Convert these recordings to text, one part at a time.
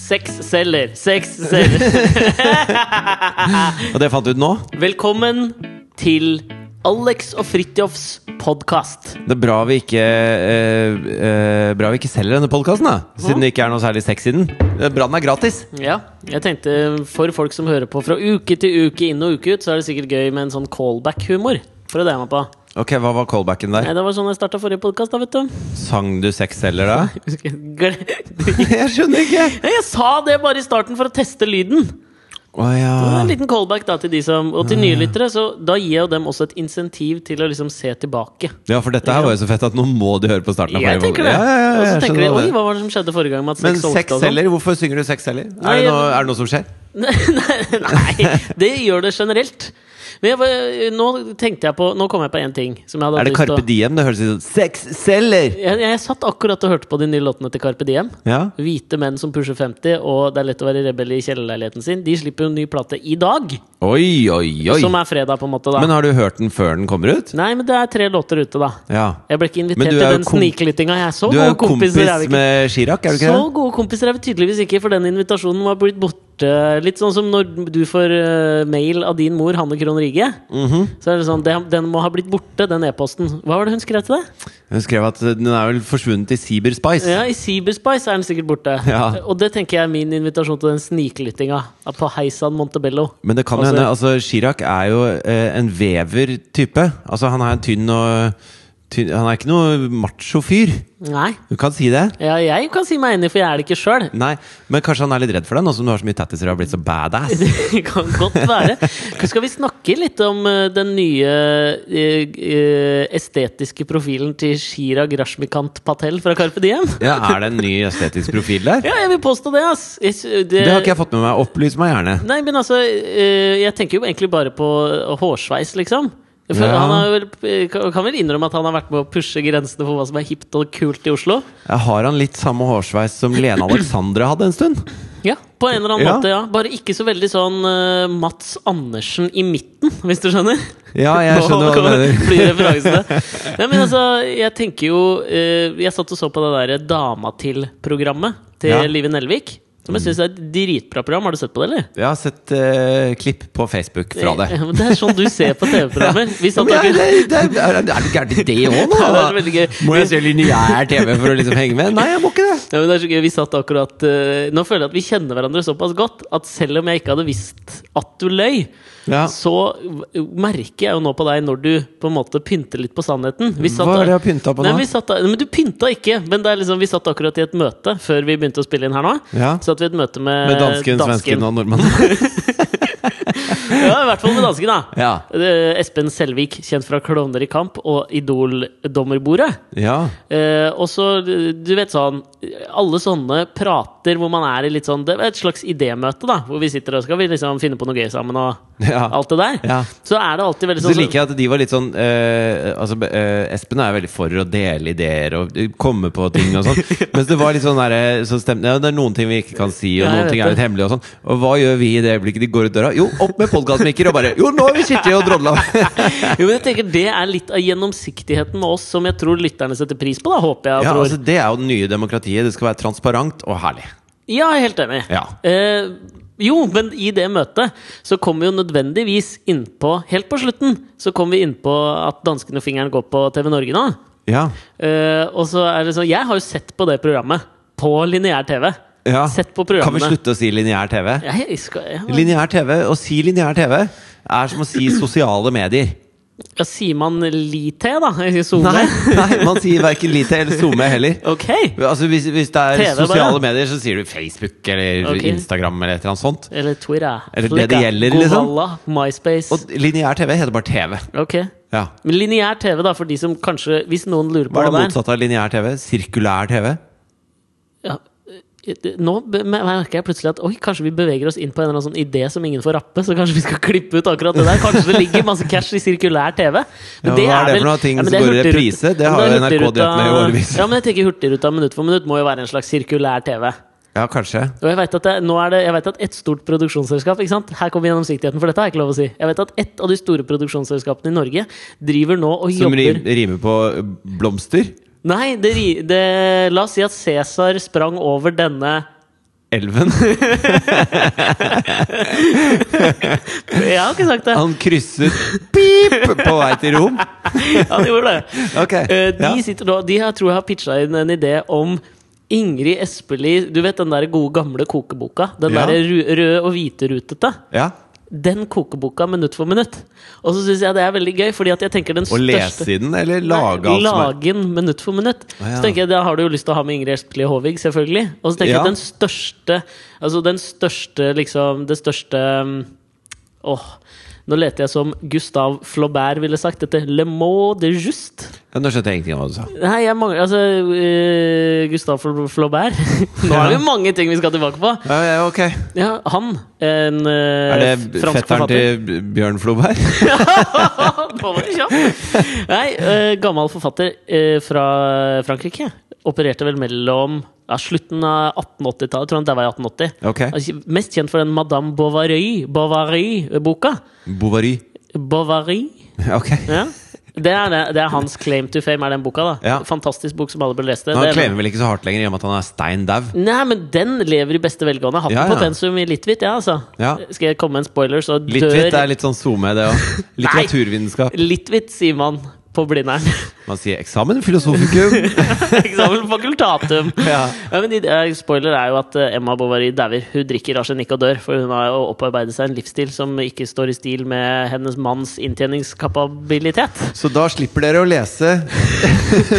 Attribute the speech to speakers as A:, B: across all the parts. A: Sex selger. Sex selger.
B: Og det fant du ut nå?
A: Velkommen til Alex og Fridtjofs podkast.
B: Det er bra vi ikke, eh, eh, bra vi ikke selger denne podkasten, da. Siden det ikke er noe særlig sex i den. Eh, Bra den er gratis.
A: Ja, jeg tenkte for folk som hører på fra uke til uke inn og uke ut, så er det sikkert gøy med en sånn callback-humor. For det er jeg med på.
B: Ok, Hva var callbacken
A: Nei,
B: der?
A: det var sånn jeg starta forrige podkast, da, vet du.
B: Sang du sex selger da?
A: Gle-
B: Jeg skjønner ikke!
A: Nei, Jeg sa det bare i starten for å teste lyden.
B: Å ja.
A: Det var en liten callback da til de som Og til nye lyttere, så da gir jeg jo dem også et insentiv til å liksom se tilbake.
B: ja, for dette her var jo så fett at nå må du høre på starten. av
A: Jeg
B: forrige
A: tenker det.
B: podkast. Ja, ja,
A: Og
B: ja,
A: så
B: jeg
A: tenker de
B: skjønner
A: Oi,
B: det.
A: hva var det som skjedde forrige gang? Med at
B: Men
A: sex
B: sex
A: solgte og sånn?»
B: selger? Hvorfor synger du sex selger? Er,
A: Nei,
B: det noe- er det noe som skjer?
A: Nei, det gjør det generelt. Men jeg, var- nå tenkte jeg på Nå kom jeg på én ting. Som jeg hadde
B: Er det
A: lyst til å-
B: Carpe Diem? Det høres ut som Sex selger!
A: Jeg, jeg satt akkurat og hørte på de nye låtene til Carpe Diem.
B: Ja.
A: Hvite menn som pusher 50, og det er lett å være rebell i kjellerleiligheten sin. De slipper jo en ny plate i dag,
B: Oi, oi, oi!
A: som er fredag, på en måte. da
B: Men har du hørt den før den kommer ut?
A: Nei, men det er tre låter ute, da.
B: Ja.
A: Jeg ble ikke
B: Men
A: invitert
B: du
A: til
B: er jo
A: den
B: kom-
A: sniklyttinga. Jeg er så
B: Du
A: gode
B: er jo kompis
A: kompiser er vi ikke.
B: med Chirac, er du ikke
A: Så
B: det?
A: gode kompiser er vi tydeligvis ikke, for den invitasjonen var blitt borte. Litt sånn som når du får eh, mail av din mor, Hanne Krohn Rige.
B: Mhm.
A: Så er det sånn, den, den må ha blitt borte, den e-posten. Hva var det hun skrev til deg?
B: Hun skrev at den er vel forsvunnet i Cyberspice.
A: Ja, I Cyberspice er den sikkert borte.
B: Ja.
A: Og det tenker jeg er min invitasjon til den sniklyttinga på Heisan Montebello.
B: Men det kan jo
A: Altså-
B: hende altså, Chirac er jo eh, en vever-type. Altså, han er en tynn og tynn, Han er ikke noe macho fyr.
A: Nei.
B: Du kan si det.
A: Ja, jeg kan si meg enig, for jeg er det ikke sjøl.
B: Nei, Men kanskje han er litt redd for deg, nå som du har så mye tattiser og har blitt så badass.
A: Det kan godt være. Skal vi snakke litt om eh, den nye eh, eh, estetiske profilen til Chirag Rashmikant Patel fra Carpe Diem?
B: Ja, Er det en ny estetisk profil der?
A: Ja, jeg vil påstå det, ass! Jeg sy-
B: Det har ikke jeg fått med meg. Opplys meg gjerne.
A: Nei, men altså, eh, jeg tenker jo egentlig bare på eh, hårsveis, liksom. For
B: Ja.
A: Han har vel, eh, kan kan vel innrømme at han har vært med å pushe grensene for hva som er hipt og kult i Oslo?
B: Har han litt samme hårsveis som Lene Alexandra hadde en stund?
A: Ja, på en eller annen
B: Ja.
A: måte, ja. Bare ikke så veldig sånn eh, Mats Andersen i midten, hvis du skjønner?
B: Ja, jeg skjønner hva du mener.
A: Blir referanse til det. Nei, men altså, jeg tenker jo eh, Jeg satt og så på det der Dama til-programmet til
B: Ja. Mm.
A: Live Nelvik. Som jeg syns er et dritbra program. Har du sett på det, eller?
B: Jeg har sett eh, klipp på Facebook fra det.
A: Ja, men Det er sånn du ser på TV-programmer. Vi
B: Ja,
A: satt
B: men
A: og
B: er, er, er, er, er du gæren til det òg, nå?
A: Ja, det er veldig gøy.
B: Må jeg se lineær TV for å liksom henge med? Nei, jeg må ikke det.
A: Ja, men det er så gøy, vi satt akkurat eh, Nå føler jeg at vi kjenner hverandre såpass godt at selv om jeg ikke hadde visst at du løy,
B: Ja.
A: så v- merker jeg jo nå på deg når du på en måte pynter litt på sannheten. Vi
B: Hva er det jeg har pynta på
A: Nei,
B: nå?
A: vi satt, nei, men Du pynta ikke, men det er liksom, vi satt akkurat i et møte før vi begynte å spille inn her nå.
B: Ja.
A: Så at vi i et møte med,
B: Med dansken, svensken og nordmannen.
A: Ja, i hvert fall med dansken, da.
B: Ja.
A: Eh, Espen Selvik, kjent fra Klovner i kamp og Idol-dommerbordet.
B: ja.
A: Eh, og så, du vet sånn Alle sånne prater hvor man er i litt sånn Det er et slags idémøte, da. Hvor vi sitter og skal vi liksom finne på noe gøy sammen og
B: Ja.
A: alt det der.
B: Ja.
A: Altså, Så er det alltid veldig
B: Så
A: sånn
B: liker jeg at de var litt sånn eh, Altså, eh, Espen er veldig for å dele ideer og eh, komme på ting og sånn. Mens det var litt sånn derre så stemte- ja, Det er noen ting vi ikke kan si, og
A: Ja, jeg
B: noen
A: vet
B: ting er
A: det.
B: litt hemmelige og sånn. Og hva gjør vi i det øyeblikket de går ut døra? Jo, opp med podkastmikker og bare Jo, nå har vi sittet og drodla!
A: jo, men jeg tenker Det er litt av gjennomsiktigheten med oss som jeg tror lytterne setter pris på, da. Håper jeg.
B: Ja,
A: tror.
B: altså, det er jo det nye demokratiet. Det skal være transparent og herlig.
A: Ja, jeg er helt enig.
B: Ja.
A: Eh, jo, men i det møtet så kom vi jo nødvendigvis innpå Helt på slutten så kom vi innpå at danskene og fingeren går på TV Norge nå.
B: Ja.
A: Eh, og så er det sånn Jeg har jo sett på det programmet på lineær TV.
B: ja.
A: Sett på
B: Kan vi
A: programmene.
B: slutte å si lineær TV?
A: Jeg, jeg skal, jeg,
B: Lineær TV, å si lineær TV er som å si sosiale medier.
A: ja, sier man lite, da? I Zoome?
B: Nei, nei man sier verken lite eller zoome heller.
A: Ok!
B: Altså Hvis, hvis det er
A: TV bare.
B: sosiale medier, så sier du Facebook eller
A: Ok.
B: Instagram eller et eller annet sånt.
A: Eller Twitter.
B: Eller det det gjelder,
A: Flickr,
B: liksom.
A: Govala, MySpace.
B: Og lineær TV heter bare TV.
A: Ok.
B: Ja.
A: Men lineær TV, da, for de som kanskje Hvis noen lurer på hva
B: Hva er det
A: det er
B: motsatte av lineær TV? Sirkulær TV?
A: ja, eh, det- Nå be- mer- merker jeg plutselig at oi, kanskje vi beveger oss inn på en eller annen sånn idé som ingen får rappe, så kanskje vi skal klippe ut akkurat det der. Kanskje det ligger masse cash i sirkulær TV.
B: Ja, hva er det for noe? Ting som går i
A: Hurtigruta-
B: reprise? Det har
A: Men
B: jo NRK
A: Hurtigruta-
B: drevet med i årevis.
A: Ja, men jeg tenker Hurtigruta minutt for minutt må jo være en slags sirkulær TV.
B: Ja, kanskje.
A: Og jeg vet at, det, nå er det, jeg vet at et stort produksjonsselskap ikke sant? Her kommer gjennomsiktigheten, for dette har jeg ikke lov å si. Jeg vet at et av de store produksjonsselskapene i Norge driver nå og
B: Som
A: jobber
B: rim, rimer på blomster?
A: Nei, det, ri- det, la oss si at Cæsar sprang over denne
B: elven.
A: Jeg har ikke sagt det.
B: Han krysset pip på vei til Rom.
A: Han gjorde det.
B: Ok.
A: Eh, de
B: Ja.
A: sitter nå De her tror jeg har pitcha inn en idé om Ingrid Espelid Du vet den der gode, gamle kokeboka? Den
B: Ja.
A: der ru- røde og hviterutete?
B: Ja.
A: Den kokeboka minutt for minutt. Og så syns jeg det er veldig gøy, fordi at jeg tenker den
B: Og
A: største
B: lese i den, eller lage
A: Nei,
B: alt som er
A: lage den minutt for minutt.
B: Å, ja.
A: Så tenker jeg, Da har du jo lyst til å ha med Ingrid Espelid Håvig, selvfølgelig. Og så tenker jeg
B: Ja.
A: at den største Altså den største liksom Det største um, Åh Nå leter jeg som Gustav Flaubert ville sagt dette. Le mot de juste.
B: ja, Nå skjønte jeg ingenting av hva du sa.
A: Nei, jeg mangler Altså øh, Gustav Fl- Flaubert. Nå er det jo mange ting vi skal tilbake på.
B: Ja, ja, ok.
A: Ja, han. En øh,
B: Er det
A: Eh, fransk forfatter.
B: fetteren til Bjørn Floberg?
A: Nå var du kjapp! Nei, eh, gammel forfatter eh, fra Frankrike. Opererte vel mellom ja, slutten av 1880-tallet. Tror han der var i 1880.
B: Ok.
A: Altså, Mest kjent for den Madame Bovary, Bovary-boka.
B: Bovary.
A: Bovary.
B: Ok.
A: Ja. Det er, det, det er hans claim to fame, er den boka. da
B: Ja.
A: Fantastisk bok som alle bør lese.
B: Han
A: Det er-
B: klemmer vel ikke så hardt lenger i og med at han er stein dau.
A: Nei, men den lever i beste velgående. Hatten
B: Ja, ja.
A: på pensum i Litvit, ja, altså.
B: Ja.
A: Skal jeg komme med en spoiler, så dør
B: Litvit er litt sånn SoMe, det òg. Litteraturvitenskap.
A: Litvit, sier man på Blindern.
B: Man sier 'eksamen filosofikum'.
A: Eksamen fakultatum.
B: Ja.
A: Ja, men de- eh, spoiler er jo at eh, Emma Bovary dauer. Hun drikker arsenikk og dør, for hun har jo opparbeidet seg en livsstil som ikke står i stil med hennes manns inntjeningskapabilitet.
B: Så da slipper dere å lese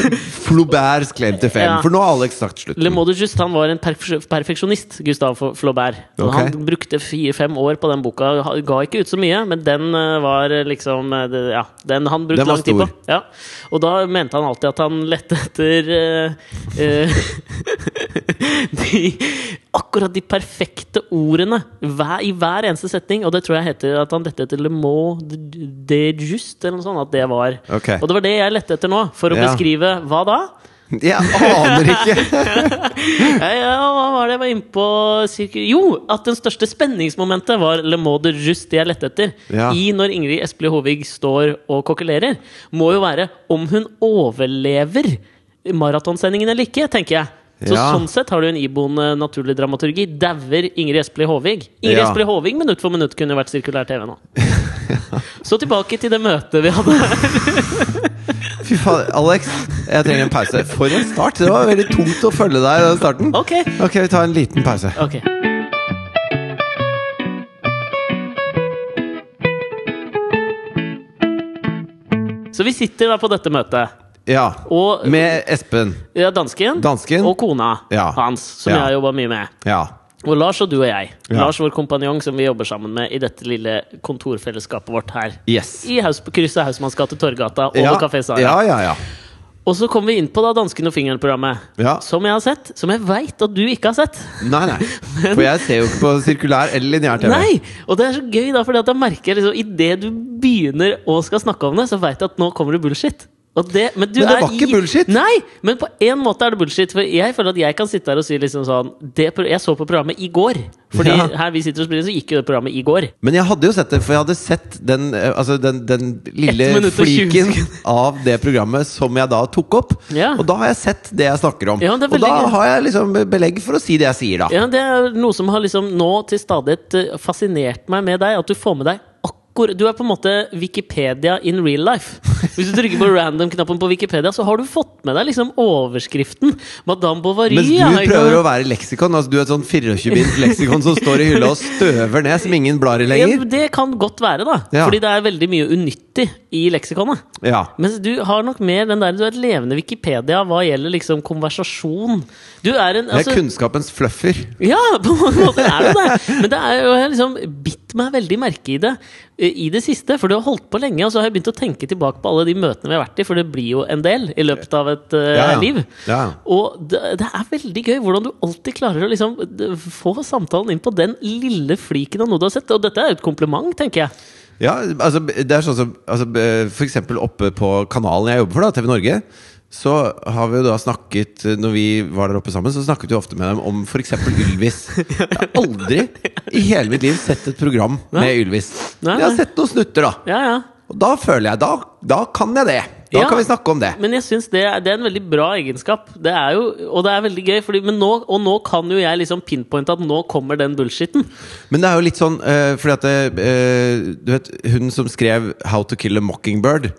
B: Flauberts claim to fame.
A: Ja.
B: For nå har Alex sagt slutt.
A: Le Mode Juste han var en perf perfeksjonist, Gustav F- Flaubert. Og
B: Ok.
A: Han brukte fire-fem år på den boka. Ha- Ga ikke ut så mye, men den eh, var eh, liksom eh, det- Ja, den han brukte
B: Den var
A: lang tid på.
B: stor.
A: Ja. Og da mente han alltid at han lette etter eh, eh, de, akkurat de perfekte ordene hver, i hver eneste setning. Og det tror jeg heter at han lette etter Le Mot de Juste, eller noe sånt. At det var
B: Ok.
A: Og det var det jeg lette etter nå, for å
B: Ja.
A: beskrive hva da?
B: Jeg aner ikke!
A: Ja, ja, hva var det jeg var inne på? Cirka- Jo, at den største spenningsmomentet var Le Mode Just det jeg lette etter.
B: Ja.
A: I når Ingrid Espelid Håvig står og kokkelerer, må jo være om hun overlever maratonsendingen eller ikke, tenker jeg. Så
B: Ja.
A: Sånn sett har du en iboende naturlig dramaturgi. Dauer Ingrid Espelid Håvig. Ingrid
B: Ja.
A: Espelid Håvig minutt for minutt kunne vært sirkulær TV nå. Så tilbake til det møtet vi hadde.
B: Fy faen, Alex, jeg trenger en pause. For en start! Det var veldig tungt å følge deg i den starten.
A: Ok.
B: Ok, vi tar en liten pause.
A: Ok. Så vi sitter da på dette møtet,
B: Ja.
A: og
B: Med Espen.
A: ja, dansken,
B: Dansken.
A: og kona
B: Ja.
A: hans, som
B: Ja.
A: jeg har jobba mye med.
B: Ja.
A: Og Lars og du og jeg.
B: Ja.
A: Lars, vår kompanjong, som vi jobber sammen med i dette lille kontorfellesskapet vårt her.
B: Yes.
A: I haus, krysset Hausmanns gate, Torgata og
B: Ja,
A: Kafé Sara.
B: ja, ja, ja.
A: Og så kommer vi inn på da Dansken og fingeren-programmet,
B: Ja.
A: som jeg har sett. Som jeg veit at du ikke har sett.
B: Nei, nei. For jeg ser jo ikke på sirkulær eller lineær TV.
A: Nei! Og det er så gøy, da, fordi at da merker jeg liksom Idet du begynner å skal snakke om det, så veit jeg at nå kommer det bullshit. Og det, men, du
B: Men det
A: er
B: var ikke bullshit.
A: Nei! Men på en måte er det bullshit. For jeg føler at jeg kan sitte her og si liksom sånn det, pro- Jeg så på programmet i går. Fordi
B: Ja.
A: her vi sitter og spiller, så gikk jo det programmet i går.
B: Men jeg hadde jo sett det, for jeg hadde sett den, eh, altså den, den lille
A: Ett minutt og tjue
B: fliken av det programmet som jeg da tok opp.
A: Ja.
B: Og da har jeg sett det jeg snakker om.
A: Ja, det er
B: og da
A: veldig gøy.
B: har jeg liksom belegg for å si det jeg sier, da.
A: Ja, Det er noe som har liksom nå til stadighet eh, fascinert meg med deg, at du får med deg akkurat Du er på en måte Wikipedia in real life. Hvis du trykker på random-knappen på Wikipedia, så har du fått med deg liksom overskriften. Madame Bovary.
B: Mens
A: ja,
B: du
A: ikke
B: prøver
A: sant?
B: å være leksikon. Altså Du er et sånn 24-bint leksikon som står i hylla og støver ned, som ingen blar i
A: Ja,
B: lenger.
A: det kan godt være, da.
B: Ja.
A: Fordi det er veldig mye unyttig i leksikonet.
B: Ja.
A: Mens du har nok mer den der Du er et levende Wikipedia hva gjelder liksom konversasjon. Du er en
B: Jeg
A: altså,
B: er kunnskapens fluffer.
A: Ja, på mange måter er du det! Men det er jo jeg har liksom bitt meg veldig merke i det eh, i det siste. For du har holdt på lenge, og så har jeg begynt å tenke tilbake på alle de møtene vi har vært i, for det blir jo en del i løpet av et eh,
B: Ja, ja.
A: liv.
B: Ja.
A: Og det, det er veldig gøy hvordan du alltid klarer å liksom d- få samtalen inn på den lille fliken av noe du har sett. Og dette er jo et kompliment, tenker jeg.
B: Ja, altså det er sånn som altså, eh, For eksempel oppe på kanalen jeg jobber for, da, TV Norge. Så har vi jo da snakket eh, Når vi var der oppe sammen, så snakket vi ofte med dem om f.eks. Ylvis. Jeg har aldri i hele mitt liv sett et program med Ylvis.
A: Nei,
B: Men jeg har
A: nei.
B: sett noen snutter, da.
A: Ja, ja.
B: Og da føler jeg Da, da kan jeg det. Da
A: Ja.
B: kan vi snakke om det.
A: Men jeg syns det, er- det er en veldig bra egenskap. Det er jo, og det er veldig gøy. Fordi, men nå, og nå kan jo jeg liksom pinpointe at nå kommer den bullshiten.
B: Men det er jo litt sånn eh, Fordi at eh, Du vet, hun som skrev 'How to kill a mockingbird',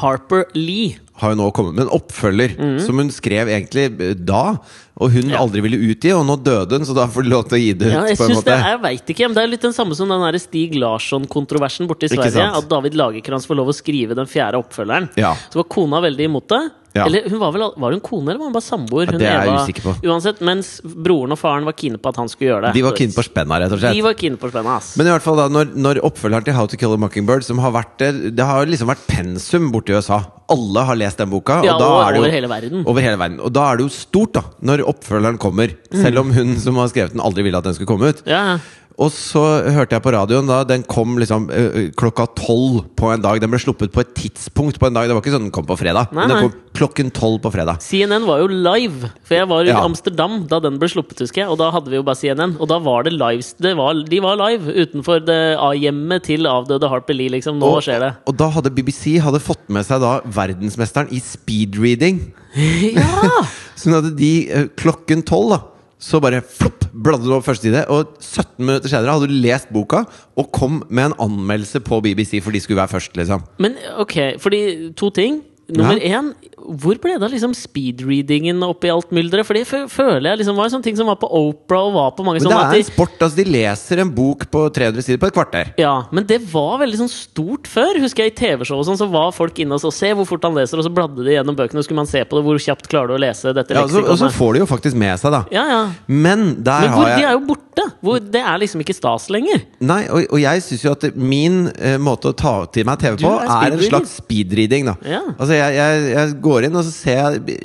A: Harper Lee.
B: har jo nå kommet med en oppfølger som hun skrev egentlig eh, da, og hun
A: Mhm. Ja.
B: aldri ville utgi, og nå døde hun, så da får du lov til å gi det ut,
A: Ja, jeg
B: på en
A: synes det,
B: måte.
A: jeg vet ikke, men det er litt den samme som den der Stig Larsson-kontroversen borte i
B: Ikke
A: Sverige.
B: sant?
A: At David Lagerkrans får lov å skrive den fjerde oppfølgeren.
B: Ja.
A: Så var kona veldig imot det.
B: Ja.
A: Eller hun var, vel, al- var hun kone, eller var hun bare samboer? Hun
B: det er jeg
A: Eva-
B: usikker på.
A: Uansett, mens broren og faren var kine på at han skulle gjøre det.
B: De var keen på spenna, rett og slett.
A: De var keen på spenna, ass.
B: Men i hvert fall da, når, når oppfølgeren til How to Kill a Mockingbird Som har vært det Det har liksom vært pensum borte i USA Alle har lest den boka
A: Ja,
B: og da
A: og
B: er det jo,
A: over hele verden.
B: Over hele verden Og da er det jo stort da Når oppfølgeren kommer
A: Mhm.
B: Selv om hun som har skrevet den Aldri ville at den skulle komme ut
A: Ja, ja.
B: Og så hørte jeg på radioen da Den kom liksom ø, ø, klokka tolv på en dag Den ble sluppet på et tidspunkt på en dag Det var ikke sånn den kom på fredag
A: Nei,
B: Men
A: nei.
B: den kom klokken tolv på fredag
A: CNN var jo live, for jeg var i
B: Ja.
A: Amsterdam da den ble sluppet, husker jeg. Og da hadde vi jo bare CNN. Og da var det live. Det var, de var live utenfor det A-hjemmet til avdøde Harper Lee, liksom. Nå skjer det.
B: og da hadde BBC hadde fått med seg da Verdensmesteren i speedreading
A: Ja!
B: Sånn at de eh, klokken tolv da Så bare flopp, bladde du opp første side Og 17 minutter senere hadde du lest boka Og kom med en anmeldelse på BBC For de skulle være først liksom
A: Men ok, fordi to ting. Nummer én, hvor ble det av liksom speedreadingen oppi alt mylderet? For det fø- føler jeg liksom var en sånn ting som var på Opera og var på mange
B: Men det
A: sånne
B: er
A: at
B: en
A: de,
B: sport, altså de leser en bok på 300 sider på et kvarter
A: Ja, men det var veldig sånn stort før. Husker jeg I TV-show og sånn så var folk inne og så se hvor fort han leser, og så bladde de gjennom bøkene, og skulle man se på det, hvor kjapt klarer du å lese dette
B: ja, og, så, og så
A: leksikonet?
B: får de jo faktisk med seg da
A: Ja, ja.
B: Men der
A: Men hvor,
B: har
A: de
B: jeg
A: er jo borte! Hvor, det er liksom ikke stas lenger.
B: Nei, og, og jeg synes jo at min eh, måte å ta til meg TV på
A: er
B: er, en
A: speedreading.
B: slags speedreading da
A: Ja.
B: Altså jeg, jeg, jeg går inn og så ser jeg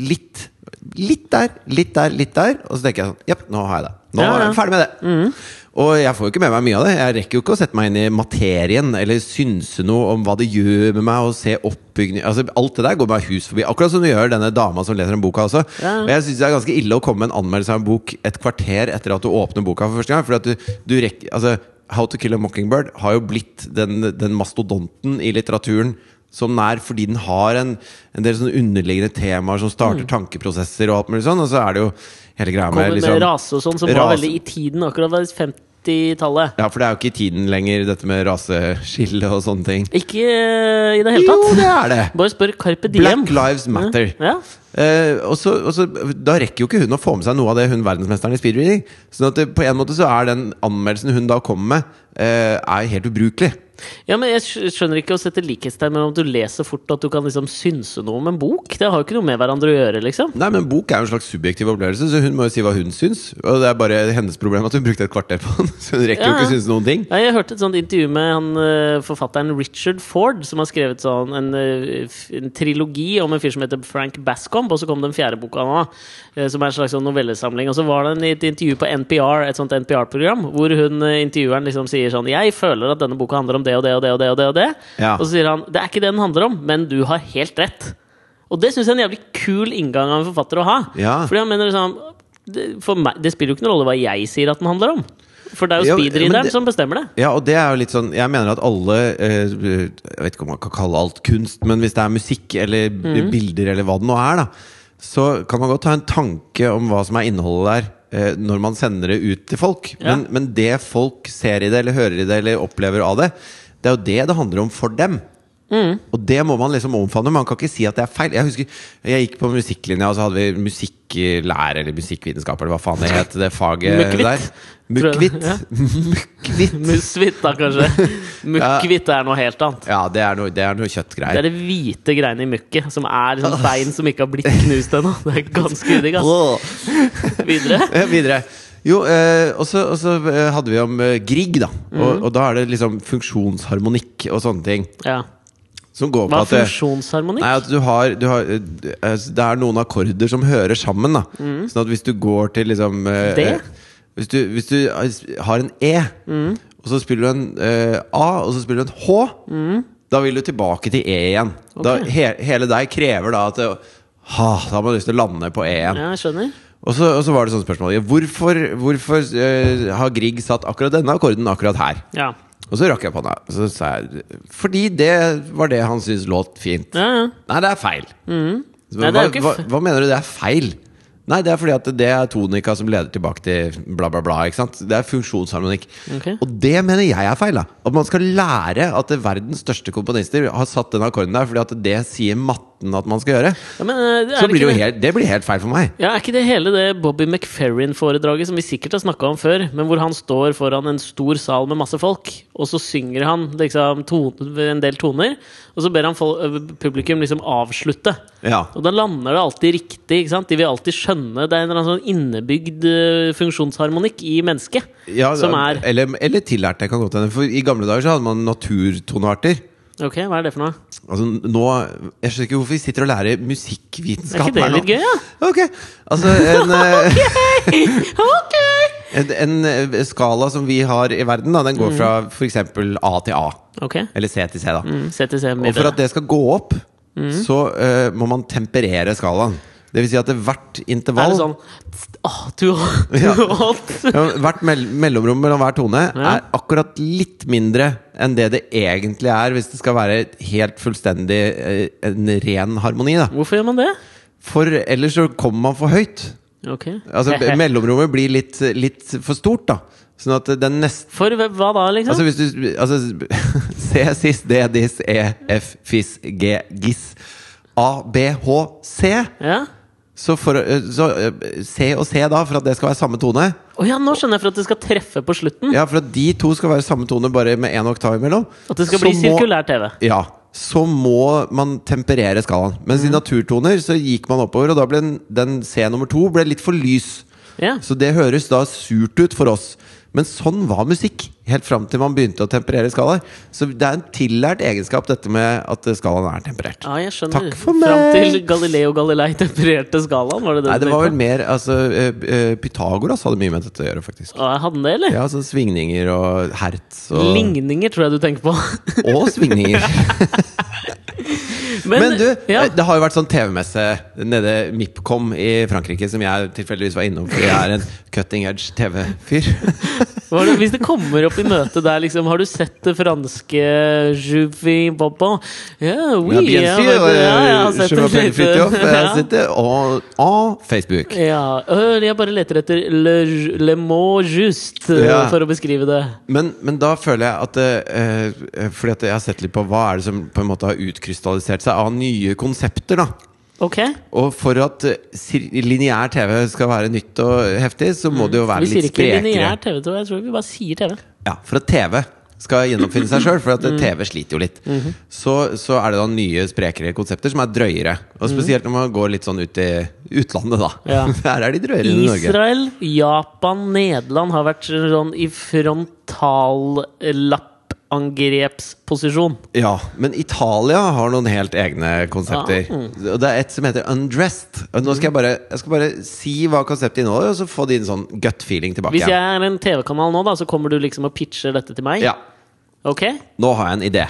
B: litt Litt der, litt der, litt der Og så tenker jeg sånn, jepp, nå har jeg det Nå
A: Ja, ja. Mm.
B: er jeg ferdig med det Og jeg får jo ikke med meg mye av det Jeg rekker jo ikke å sette meg inn i materien Eller synse noe om hva det gjør med meg Og se oppbyggning altså, Alt det der går meg hus forbi Akkurat som du gjør denne dama som leser den boka også
A: Ja.
B: Og jeg synes det er ganske ille å komme med en anmeldelse av en bok Et kvarter etter at du åpner boka for første gang Fordi at du, du rekker, altså How to Kill a Mockingbird har jo blitt den, den mastodonten i litteraturen som den er fordi den har en, en del sånne underliggende temaer som starter tankeprosesser og alt mulig sånn, og så er det jo hele greia med,
A: Mm. Kommer med,
B: liksom-
A: rase og sånn, som var
B: rase.
A: veldig i tiden akkurat ved 50-tallet.
B: Ja, for det er jo ikke i tiden lenger, dette med raseskille og sånne ting.
A: Ikke eh, i det hele
B: Jo,
A: tatt.
B: det er det!
A: Bare spør Carpe Diem.
B: Black Lives Matter.
A: Ja.
B: Eh, og så, og så, da rekker jo ikke hun å få med seg noe av det hun verdensmesteren i speedreading. Sånn at det, på en måte så er den anmeldelsen hun da kommer med, eh, er helt ubrukelig.
A: ja, men Jeg skj- skjønner ikke å sette likhetstegn mellom at du leser fort og at du kan liksom synse noe om en bok. Det har jo ikke noe med hverandre å gjøre, liksom.
B: Nei, men Bok er jo en slags subjektiv opplevelse, så hun må jo si hva hun syns. Og det er bare hennes problem at hun brukte et kvarter på den, så hun rekker
A: Ja,
B: jo ikke
A: ja.
B: synes noen ting.
A: Ja, jeg hørte et sånt intervju med han, eh, forfatteren Richard Ford, som har skrevet sånn, en, eh, f- en trilogi om en fyr som heter Frank Bascombe, og så kom den fjerde boka nå, eh, som er en slags sånn novellesamling. Og så var det en, et intervju på NPR, et sånt NPR-program, hvor hun, eh, intervjueren liksom sier sånn Jeg føler at denne boka handler om det og det og det og det. Og det, og det.
B: Ja.
A: Og så sier han det er ikke det den handler om, men du har helt rett. Og det syns jeg er en jævlig kul inngang av en forfatter å ha.
B: Ja.
A: Fordi han mener liksom det, for meg, det spiller jo ikke noen rolle hva jeg sier at den handler om. For det er
B: Ja,
A: jo
B: men
A: speedreaderen
B: det-
A: som bestemmer det.
B: Ja, og det er jo litt sånn Jeg mener at alle eh, Jeg vet ikke om man kan kalle alt kunst, men hvis det er musikk eller b-
A: Mm.
B: bilder eller hva det nå er, da, så kan man godt ha en tanke om hva som er innholdet der. eh, Når man sender det ut til folk.
A: Ja.
B: Men, men det folk ser i det, eller hører i det, eller opplever av det, det er jo det det handler om for dem.
A: Mm.
B: Og det må man liksom omfavne. Man kan ikke si at det er feil. Jeg husker, jeg gikk på musikklinja, og så hadde vi musikklærer, eller musikkvitenskap, eller hva faen det het, det faget
A: Mukkvitt, tror
B: der.
A: jeg.
B: Mukkvitt.
A: Ja.
B: Mukkvitt.
A: Musvitt, da, kanskje. Mukkhvitt er noe helt annet.
B: Ja, det er noe, det er noe
A: Det
B: kjøttgreier.
A: er det hvite greiene i mukket, som er liksom bein som ikke har blitt knust ennå. Det er ganske udigg, ass.
B: Åh.
A: Videre.
B: Eh, Videre. Jo, eh, og så og så, eh, hadde vi om eh, Grieg, da. Og, og da er det liksom funksjonsharmonikk og sånne ting.
A: Ja.
B: Som går på
A: Hva er
B: at det- Nei,
A: funksjonsharmonikk?
B: at du har, du har eh, altså, Det er noen akkorder som hører sammen. Da. Sånn at hvis du går til liksom eh,
A: Det?
B: eh, Hvis du, hvis du eh, har en E, og så spiller du en eh, A, og så spiller du en H, da vil du tilbake til E igjen. Da,
A: Ok.
B: he, hele deg krever da at det, ha, Da har man lyst til å lande på E igjen.
A: Ja, jeg skjønner.
B: Og så, og så var det sånn spørsmål ja, Hvorfor, hvorfor eh, har Grieg satt akkurat denne akkorden akkurat her?
A: Ja.
B: Og så rakk jeg på henne. Så sa jeg, fordi det var det han syntes låt fint.
A: Ja, ja.
B: Nei, det er feil. Så,
A: Mm. Nei, det
B: hva,
A: er jo ikke
B: hva,
A: f-
B: hva mener du det er feil? Nei, det er fordi at det er tonika som leder tilbake til bla, bla, bla. ikke sant? Det er funksjonsharmonikk.
A: Ok.
B: Og det mener jeg er feil. da At man skal lære at det verdens største komponister har satt den akkorden der, fordi at det sier matten at man skal gjøre.
A: ja men, eh, er
B: Så blir
A: ikke
B: det, jo helt, det blir helt feil for meg.
A: Ja, Er ikke det hele det Bobby McFerrin-foredraget som vi sikkert har snakka om før, men hvor han står foran en stor sal med masse folk, og så synger han liksom ton- en del toner, og så ber han fol publikum liksom avslutte.
B: Ja.
A: Og da lander det alltid riktig. ikke sant? De vil alltid skjønne det er en eller annen sånn innebygd eh, funksjonsharmonikk i mennesket.
B: Ja,
A: som er
B: eller, eller tillært, det kan godt hende. For i gamle dager så hadde man naturtonearter.
A: Ok, hva er det for noe?
B: Altså nå, Jeg skjønner ikke hvorfor vi sitter og lærer musikkvitenskap
A: Er ikke det litt gøy, da?
B: Ok, altså en, eh,
A: Ok!
B: en, en eh, skala som vi har i verden, da, den går fra f.eks. A til A.
A: Ok.
B: Eller C til C, da.
A: Mm, CTC
B: Og for
A: middag.
B: at det skal gå opp, så eh, må man temperere skalaen. Det vil si at det hvert
A: Er
B: intervall
A: det sånn Åh, du hot!
B: Ja.
A: Du hot!
B: ja, Hvert mell mellomrom mellom hver tone
A: Ja.
B: er akkurat litt mindre enn det det egentlig er hvis det skal være helt fullstendig eh, en ren harmoni. Da.
A: Hvorfor gjør man det?
B: For ellers så kommer man for høyt.
A: Ok.
B: Altså, b- mellomrommet blir litt, litt for stort, da. Sånn at den neste
A: For hvem- hva da, liksom?
B: Altså hvis du altså, C, cis, D, dis, E, F, fis, G, gis. A, B, H, C.
A: ja.
B: Så, for, å- så eh, C og C, da, for at det skal være samme tone
A: Å ja, nå skjønner jeg for at det skal treffe på slutten.
B: Ja, for at de to skal være samme tone, bare med én oktav imellom.
A: At det skal
B: Så
A: bli sirkulær TV.
B: Ja. Så må man temperere skalaen. Mens
A: Mm.
B: i naturtoner så gikk man oppover, og da ble den, den C nummer to ble litt for lys.
A: Ja.
B: Så det høres da surt ut for oss. Men sånn var musikk helt fram til man begynte å temperere skalaer. Så det er en tillært egenskap, dette med at skalaen er temperert.
A: ja, jeg skjønner.
B: Takk for
A: Fram
B: meg!
A: til Galileo Galilei tempererte skalaen, var det det
B: Nei,
A: du
B: det var vel
A: tenkte?
B: mer altså, eh, eh, Pythagoras hadde mye med dette å gjøre, faktisk.
A: Å, jeg hadde den det, eller?
B: Ja, sånn svingninger og hertz og,
A: Ligninger tror jeg du tenker på.
B: og svingninger.
A: Men,
B: Men du,
A: ja.
B: det har jo vært sånn TV-messe nede Mipcom i Frankrike, som jeg tilfeldigvis var innom fordi jeg er en cutting edge TV-fyr.
A: Var det, hvis det kommer opp i møtet der, liksom Har du sett det franske Juvi Bobba? Ja, oui,
B: Jeg
A: ja, men- ja,
B: eh,
A: jeg har sett det litt. eh,
B: Jeg
A: Ja.
B: sitter on, on Facebook.
A: Ja, øh, jeg bare leter etter le, le mot juste øh,
B: Ja.
A: for å beskrive det.
B: Men, men da føler jeg at eh, eh, Fordi at jeg har sett litt på hva er det som på en måte har utkrystallisert seg av nye konsepter. da
A: Ok?
B: Og for at eh, sir- lineær TV skal være nytt og heftig, så må det jo være
A: Mm. Vi sier
B: litt
A: ikke
B: sprekere.
A: lineær TV, tror jeg. Jeg tror vi bare sier TV.
B: Ja, for at TV skal gjennomfinne seg sjøl, for at
A: Mm.
B: TV sliter jo litt.
A: Mhm.
B: så, så er det da nye, sprekere konsepter som er drøyere. Og spesielt når man går litt sånn ut i utlandet, da.
A: Mhm. Ja.
B: Der er de drøyere enn i Norge.
A: Israel, Japan, Nederland har vært sånn i frontallappangrepsposisjon.
B: Ja, Men Italia har noen helt egne konsepter.
A: Ah, mm.
B: Og det er et som heter Undressed. Og nå skal jeg bare, jeg skal bare si hva konseptet inneholder, og så få din sånn gut feeling tilbake.
A: Hvis jeg
B: igjen.
A: er en TV-kanal nå, da, så kommer du liksom og pitcher dette til meg?
B: Ja,
A: Ok?
B: Nå har jeg en idé.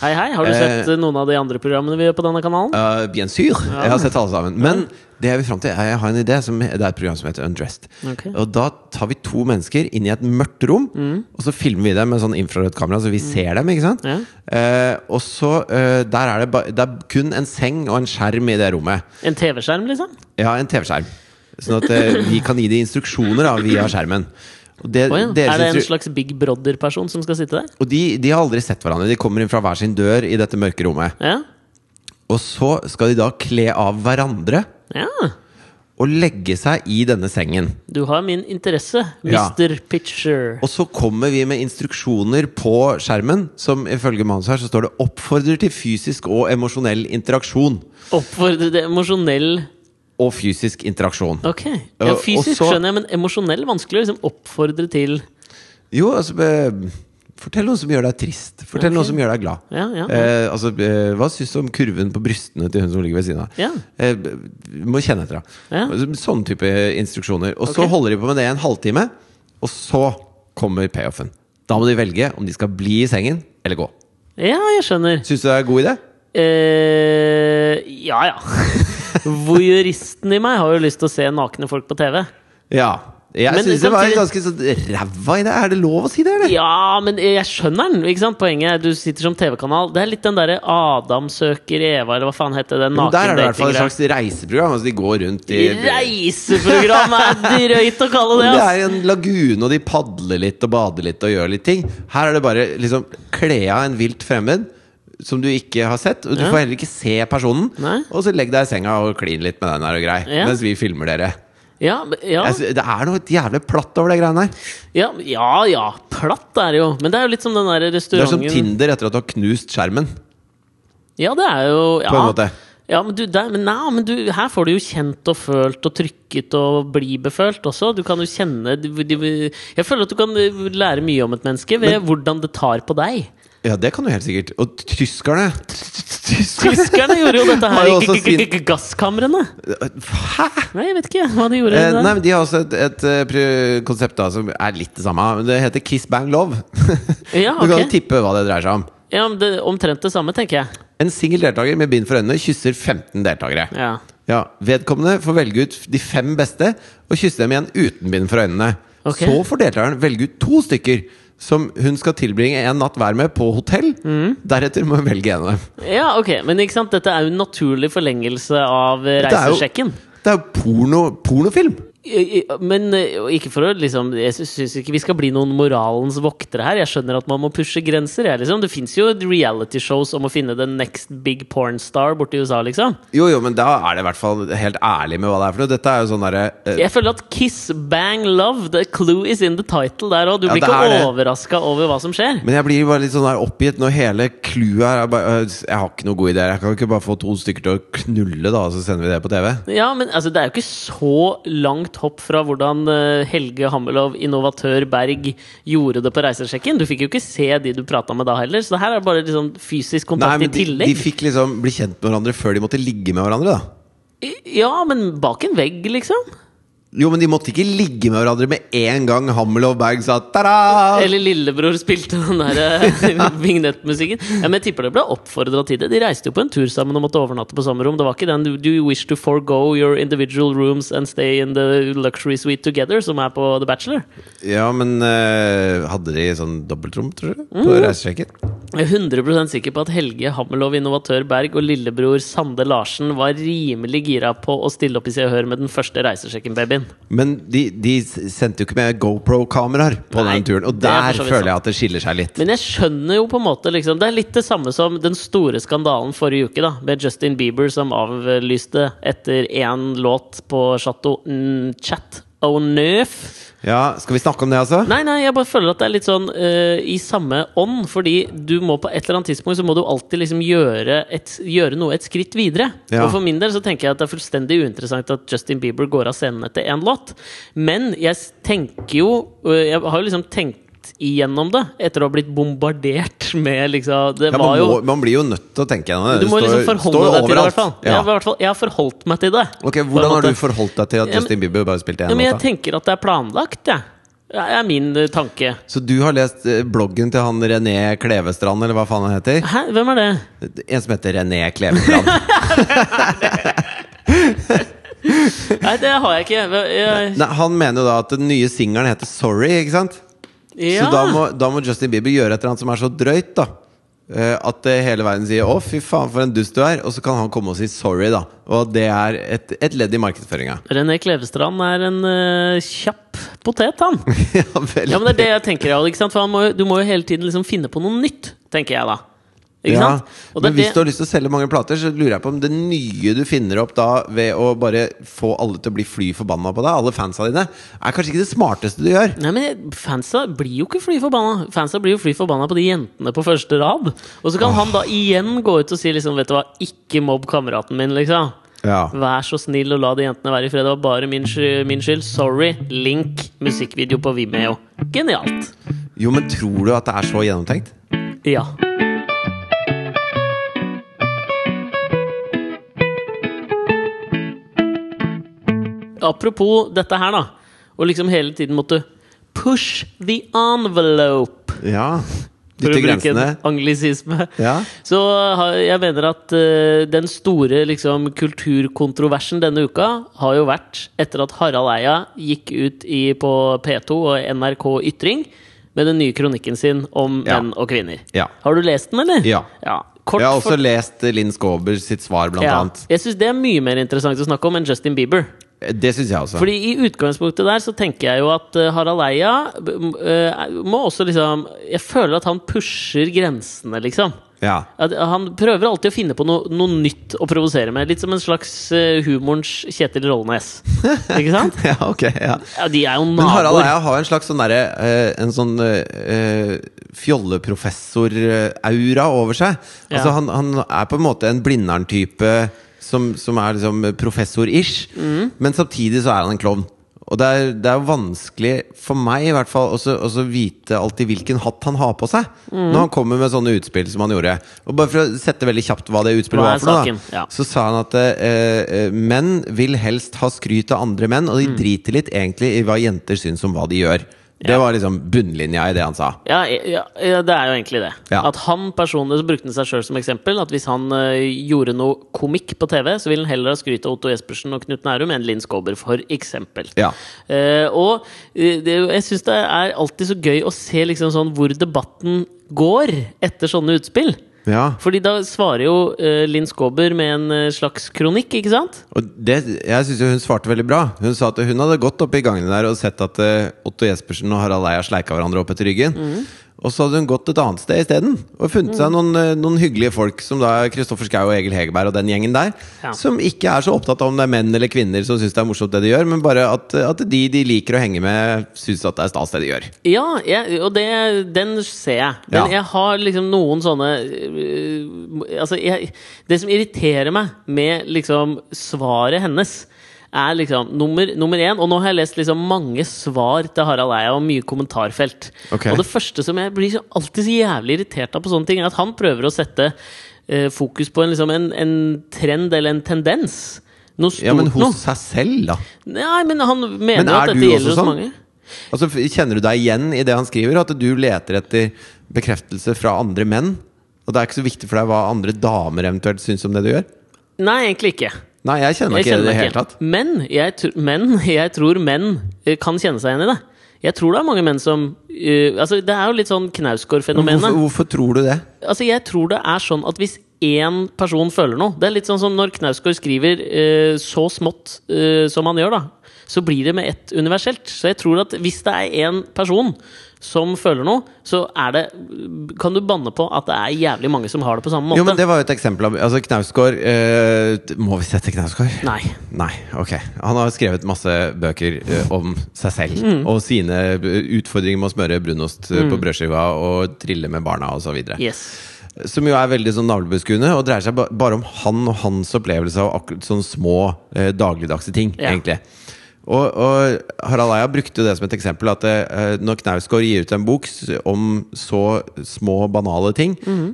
A: Hei, hei. Har du
B: Eh.
A: sett øh, noen av de andre programmene vi gjør på denne kanalen?
B: Uh, bien sûr. Jeg har sett alle sammen. Men det jeg vil frem til er, jeg har en idé. Som, det er et program som heter Undressed.
A: Ok. Mm.
B: Og da tar vi to mennesker inn i et mørkt rom, og så filmer vi dem med sånn infrarødt kamera, så vi ser dem. ikke sant?
A: Ja.
B: Eh, og så eh, der er det, ba det er kun en seng og en skjerm i det rommet.
A: En TV-skjerm, liksom?
B: Ja, en TV-skjerm. Sånn at eh, vi kan gi de instruksjoner da, via skjermen. Og, det,
A: Å ja.
B: deres
A: Er det en
B: instru-
A: slags Big Brother-person som skal sitte der?
B: og de, de har aldri sett hverandre. De kommer inn fra hver sin dør i dette mørke rommet.
A: Ja?
B: Og så skal de da kle av hverandre.
A: ja.
B: og legge seg i denne sengen.
A: Du har min interesse,
B: Ja.
A: Mr. Pitcher.
B: Og så kommer vi med instruksjoner på skjermen, som ifølge manuset her så står det 'oppfordrer til fysisk og emosjonell interaksjon'.
A: Oppfordre til emosjonell
B: Og fysisk interaksjon.
A: Ok. Ja,
B: Eh,
A: fysisk
B: og så-
A: skjønner jeg, men emosjonell vanskelig å liksom oppfordre til
B: Jo, altså eh, Fortell noe som gjør deg trist. Fortell noe som gjør deg glad.
A: Ja, ja.
B: Eh, altså, eh, hva syns du om kurven på brystene til hun som ligger ved siden av?
A: Ja.
B: Eh, b- må kjenne etter, da.
A: Ja.
B: Altså, Sånne type instruksjoner. Og så
A: Ok.
B: holder de på med det i en halvtime, og så kommer payoffen. Da må de velge om de skal bli i sengen eller gå.
A: Ja, jeg skjønner.
B: Syns du det er en god idé?
A: Eh, ja ja. Voyeuristen i meg har jo lyst til å se nakne folk på TV.
B: Ja. Jeg
A: Men
B: syns det var
A: samtidig-
B: ganske sånn ræva i det. Er det lov å si det, eller?
A: Ja, men jeg skjønner den. ikke sant? Poenget er du sitter som TV-kanal. Det er litt den derre Adam søker Eva, eller hva faen heter den
B: Men der er det i hvert fall et
A: nakendatinggreia.
B: slags reiseprogram. Altså de går rundt i
A: Reiseprogram er drøyt å kalle det,
B: Det
A: ass!
B: er en lagune, og de padler litt og bader litt og gjør litt ting. Her er det bare liksom kle av en vilt fremmed som du ikke har sett. Og du
A: Ja.
B: får heller ikke se personen.
A: Nei.
B: Og så legg deg i senga og klin litt med den her og grei,
A: Ja.
B: mens vi filmer dere.
A: Ja, men- ja,
B: Jeg sy- det er noe jævlig platt over det greiene her.
A: ja, ja, ja. Platt er det jo. Men det er jo litt som den der
B: Det er som
A: restauranten
B: Tinder etter at du har knust skjermen,
A: Ja, det er jo ja.
B: på en måte.
A: Ja, men du, der, men, nei, men du, her får du jo kjent og følt og trykket og bli befølt også. Du kan jo kjenne de, de, Jeg føler at du kan lære mye om et menneske ved hvordan det tar på deg.
B: Ja, det kan du helt sikkert. Og tyskerne Tyskerne!
A: Tyskerne gjorde jo dette
B: Har
A: her
B: jo
A: i
B: også
A: g- g- g- gasskamrene.
B: Hæ?!
A: Nei, jeg vet ikke hva de gjorde.
B: Eh,
A: der.
B: nei, men De har også et, et eh, pri- konsept da som er litt det samme. Men det heter Kiss Bang Love.
A: Ja,
B: Du kan
A: ok.
B: jo tippe hva det dreier seg om.
A: ja, men det, Omtrent det samme, tenker jeg.
B: En singel deltaker med bind for øynene kysser 15 deltakere. Ja.
A: Ja.
B: Vedkommende får velge ut de fem beste og kysse dem igjen uten bind for øynene.
A: Ok.
B: Så får deltakeren velge ut to stykker som hun skal tilbringe en natt hver med på hotell.
A: Mm.
B: Deretter må hun velge en av dem.
A: ja, ok. Men ikke sant? dette er jo en naturlig forlengelse av eh,
B: Dette er jo-
A: reisesjekken.
B: Det er jo porno, pornofilm!
A: I- i- Men eh, og ikke for å liksom Jeg syns ikke vi skal bli noen moralens voktere her. Jeg skjønner at man må pushe grenser. Jeg, liksom. Det fins jo realityshows om å finne the next big pornstar borti USA, liksom.
B: Jo, jo, men da er det i hvert fall helt ærlig med hva det er for noe. Dette er jo sånn derre eh,
A: Jeg føler at Kiss, Bang, Love, the clue is in the title der òg. Du
B: Ja,
A: blir
B: det er
A: ikke
B: det.
A: overraska over hva som skjer.
B: Men jeg blir bare litt sånn der oppgitt når hele clouet her er bare eh, Jeg har ikke noe gode ideer. Jeg kan ikke bare få to stykker til å knulle, da, og så sender vi det på TV?
A: Ja, men altså, det er jo ikke så langt hopp fra hvordan eh, Helge Hammelov, innovatør Berg, gjorde det på reisesjekken. Du fikk jo ikke se de du prata med da heller, så det her er bare liksom fysisk kontakt i
B: de,
A: tillegg.
B: de fikk liksom bli kjent med hverandre før de måtte ligge med hverandre, da.
A: I- Ja, men bak en vegg, liksom.
B: Jo, men de måtte ikke ligge med hverandre med en gang Hammel og Berg sa ta-da!
A: Eller lillebror spilte den der eh, vignettmusikken. Ja, men jeg tipper det ble oppfordra til det. De reiste jo på en tur sammen og måtte overnatte på samme rom. Det var ikke den 'Do you wish to forgo your individual rooms and stay in the luxury suite together?' som er på The Bachelor.
B: Ja, men eh, hadde de sånn dobbeltrom, tror du? På reisesjekken?
A: Jeg er 100 sikker på at Helge Hammerlov, innovatør Berg og lillebror Sande Larsen var rimelig gira på å stille opp i Se og Hør med den første reisesjekken-babyen.
B: Men de, de s- sendte jo ikke med GoPro-kameraer på
A: Nei,
B: den turen. Og
A: det er
B: der
A: for så vidt sant.
B: føler jeg at det skiller seg litt.
A: Men jeg skjønner jo på en måte liksom, Det er litt det samme som den store skandalen forrige uke da Med Justin Bieber som avlyste etter en låt på Chateau mm, Chat og Nøf
B: Ja, Skal vi snakke om det, altså?
A: Nei, nei, jeg bare føler at det er litt sånn eh, I samme ånd Fordi du må på et eller annet tidspunkt Så må du alltid liksom gjøre, et, gjøre noe et skritt videre
B: Ja.
A: Og for min del så tenker jeg at det er fullstendig uinteressant At Justin Bieber går av scenen etter en låt Men jeg s- tenker jo eh, Jeg har jo liksom tenkt igjennom det Etter å ha blitt bombardert med liksom Det
B: Ja, man,
A: var jo
B: må, man blir jo nødt til å tenke gjennom det.
A: Du
B: Det
A: må
B: står-
A: liksom
B: står
A: forholde deg til det i
B: overalt.
A: hvert fall Jeg
B: Ja.
A: har i hvert fall- Jeg har forholdt meg til det
B: Ok,
A: på en
B: Hvordan har
A: måte.
B: du forholdt deg til at
A: Ja, men-
B: Justin Bieber bare spilte
A: ja,
B: én
A: men jeg
B: låt? da?
A: tenker at det er planlagt, jeg Det er min eh, tanke
B: Så du har lest eh, bloggen til han René Klevestrand, eller hva faen han heter?
A: Hæ? Hvem er det?
B: En som heter René Klevestrand.
A: Nei, det har jeg ikke. Hva- Jeg,
B: Nei, han mener jo da at den nye singelen heter 'Sorry', ikke sant?
A: ja.
B: Så da må, da må Justin Bieber gjøre et eller annet som er så drøyt, da. eh, At eh, hele verden sier 'å, fy faen, for en dust du er', og så kan han komme og si 'sorry', da. Og at det er et, et ledd i markedsføringa.
A: René Klevestrand er en eh, kjapp potet, han.
B: ja, vel.
A: Ja, men det er det jeg tenker, Jarl, ikke sant? For han må, jo- du må jo hele tiden liksom finne på noe nytt, tenker jeg da. Ikke
B: Ja,
A: sant? Og det
B: Men
A: er
B: hvis
A: det-
B: du har lyst til å selge mange plater, så lurer jeg på om det nye du finner opp da ved å bare få alle til å bli fly forbanna på deg, alle fansa dine, er kanskje ikke det smarteste du gjør.
A: Nei, men Fansa blir jo ikke fly forbanna. Fansa blir jo fly forbanna på de jentene på første rad. Og så kan han da igjen gå ut og si liksom, vet du hva, ikke mobb kameraten min, liksom.
B: Ja.
A: Vær så snill og la de jentene være i fred. Det var bare min, sky- min skyld. Sorry. Link. Musikkvideo på Vimeo. Genialt.
B: Jo, men tror du at det er så gjennomtenkt?
A: Ja. Apropos dette her, da. Og liksom hele tiden måtte push the envelope.
B: Ja.
A: for å
B: Dytte
A: bruke en
B: grensene.
A: anglisisme.
B: Ja.
A: Så har- jeg mener at eh, den store liksom, kulturkontroversen denne uka har jo vært etter at Harald Eia gikk ut i, på P2 og NRK Ytring med den nye kronikken sin om
B: Ja.
A: menn og kvinner.
B: Ja.
A: Har du lest den, eller?
B: Ja.
A: Kort
B: Jeg har også
A: for-
B: lest eh, Linn Skåber sitt svar, blant
A: ja.
B: annet.
A: Jeg syns det er mye mer interessant å snakke om enn Justin Bieber.
B: Det syns jeg også.
A: Fordi i utgangspunktet der så tenker jeg jo at eh, Harald Eia b- m- eh, må også liksom Jeg føler at han pusher grensene, liksom.
B: Ja.
A: At han prøver alltid å finne på noe, noe nytt å provosere med. Litt som en slags eh, humorens Kjetil Rollenes. Ikke sant?
B: ja, ok. Ja.
A: Ja, de er jo
B: Men Harald
A: naboer.
B: Eia har en slags sånn derre eh, En sånn eh, eh, fjolleprofessor-aura over seg. Altså
A: Ja.
B: han, han er på en måte en Blindern-type som, som er liksom professor-ish.
A: Mm.
B: Men samtidig så er han en klovn. Og det er, det er jo vanskelig, for meg i hvert fall, også, også vite alltid hvilken hatt han har på seg.
A: Mm.
B: Når han kommer med sånne utspill som han gjorde. Og bare for å sette veldig kjapt hva det utspillet
A: Hva er
B: var for noe,
A: saken?
B: da,
A: Ja.
B: så sa han at eh, eh, menn vil helst ha skryt av andre menn,
A: Mm.
B: og de driter litt egentlig i hva jenter syns om hva de gjør. Det
A: Ja.
B: var liksom bunnlinja i det han sa.
A: Ja, ja, ja, det er jo egentlig det.
B: Ja.
A: At han personlig så brukte han seg sjøl som eksempel. At hvis han eh, gjorde noe komikk på TV, så ville han heller ha skryt av Otto Jespersen og Knut Nærum enn Linn Skåber, for eksempel.
B: Ja.
A: Eh, og eh, det, er jo- jeg syns det er alltid så gøy å se liksom sånn hvor debatten går etter sånne utspill.
B: ja.
A: Fordi da svarer jo eh, Linn Skåber med en eh, slags kronikk, ikke sant?
B: Og det, jeg syns hun svarte veldig bra. Hun sa at hun hadde gått opp i gangene der og sett at eh, Otto Jespersen og Harald Eia sleika hverandre opp etter ryggen.
A: Mm.
B: Og så hadde hun gått et annet sted isteden og funnet seg noen, eh, noen hyggelige folk, som da Kristoffer Schou og Egil Hegerberg og den gjengen der,
A: Ja.
B: som ikke er så opptatt av om det er menn eller kvinner som syns det er morsomt det de gjør, men bare at, at de de liker å henge med, syns at det er stas det de gjør.
A: Ja, jeg, og det, den ser jeg. Men
B: Ja.
A: jeg har liksom noen sånne øh, Altså, jeg, det som irriterer meg med liksom svaret hennes, er liksom nummer, nummer én Og nå har jeg lest liksom mange svar til Harald Eia og mye kommentarfelt.
B: Ok.
A: Og det første som jeg blir så alltid så jævlig irritert av på sånne ting, er at han prøver å sette eh, fokus på en, liksom en, en trend eller en tendens. Noe stort
B: Ja, men hos
A: noe.
B: seg selv, da.
A: Nei, men han mener
B: Men
A: jo at
B: er
A: dette
B: du
A: gjelder
B: også
A: hos
B: sånn?
A: mange.
B: Altså, f- Kjenner du deg igjen i det han skriver? At du leter etter bekreftelse fra andre menn? Og det er ikke så viktig for deg hva andre damer eventuelt syns om det du gjør?
A: Nei, egentlig ikke.
B: Nei, jeg kjenner
A: Jeg
B: meg ikke
A: kjenner
B: i det
A: meg
B: hele
A: ikke
B: tatt.
A: igjen. Men jeg, tr men jeg tror menn eh, kan kjenne seg igjen i det. Jeg tror det er mange menn som eh, altså Det er jo litt sånn
B: Hvorfor,
A: Knausgård-fenomenet.
B: hvorfor tror du det?
A: Altså Jeg tror det er sånn at hvis én person føler noe Det er litt sånn som når Knausgård skriver eh, så smått eh, som han gjør, da. Så blir det med ett universelt. Så jeg tror at hvis det er én person som føler noe, så er det Kan du banne på at det er jævlig mange som har det på samme måte?
B: Jo, men Det var jo et eksempel. av- Altså, Knausgård eh, t- Må vi sette Knausgård?
A: Nei.
B: Nei, ok. Han har skrevet masse bøker eh, om seg selv
A: Mm.
B: og sine eh, utfordringer med å smøre brunost eh, på brødskiva og trille med barna osv. videre
A: Yes.
B: Som jo er veldig sånn navlebeskuende og dreier seg ba bare om han og hans opplevelse av akkurat sånne små eh, dagligdagse ting,
A: Ja.
B: egentlig. Og, og Harald Eia brukte det som et eksempel at eh, når Knausgård gir ut en bok s- om så små, banale ting,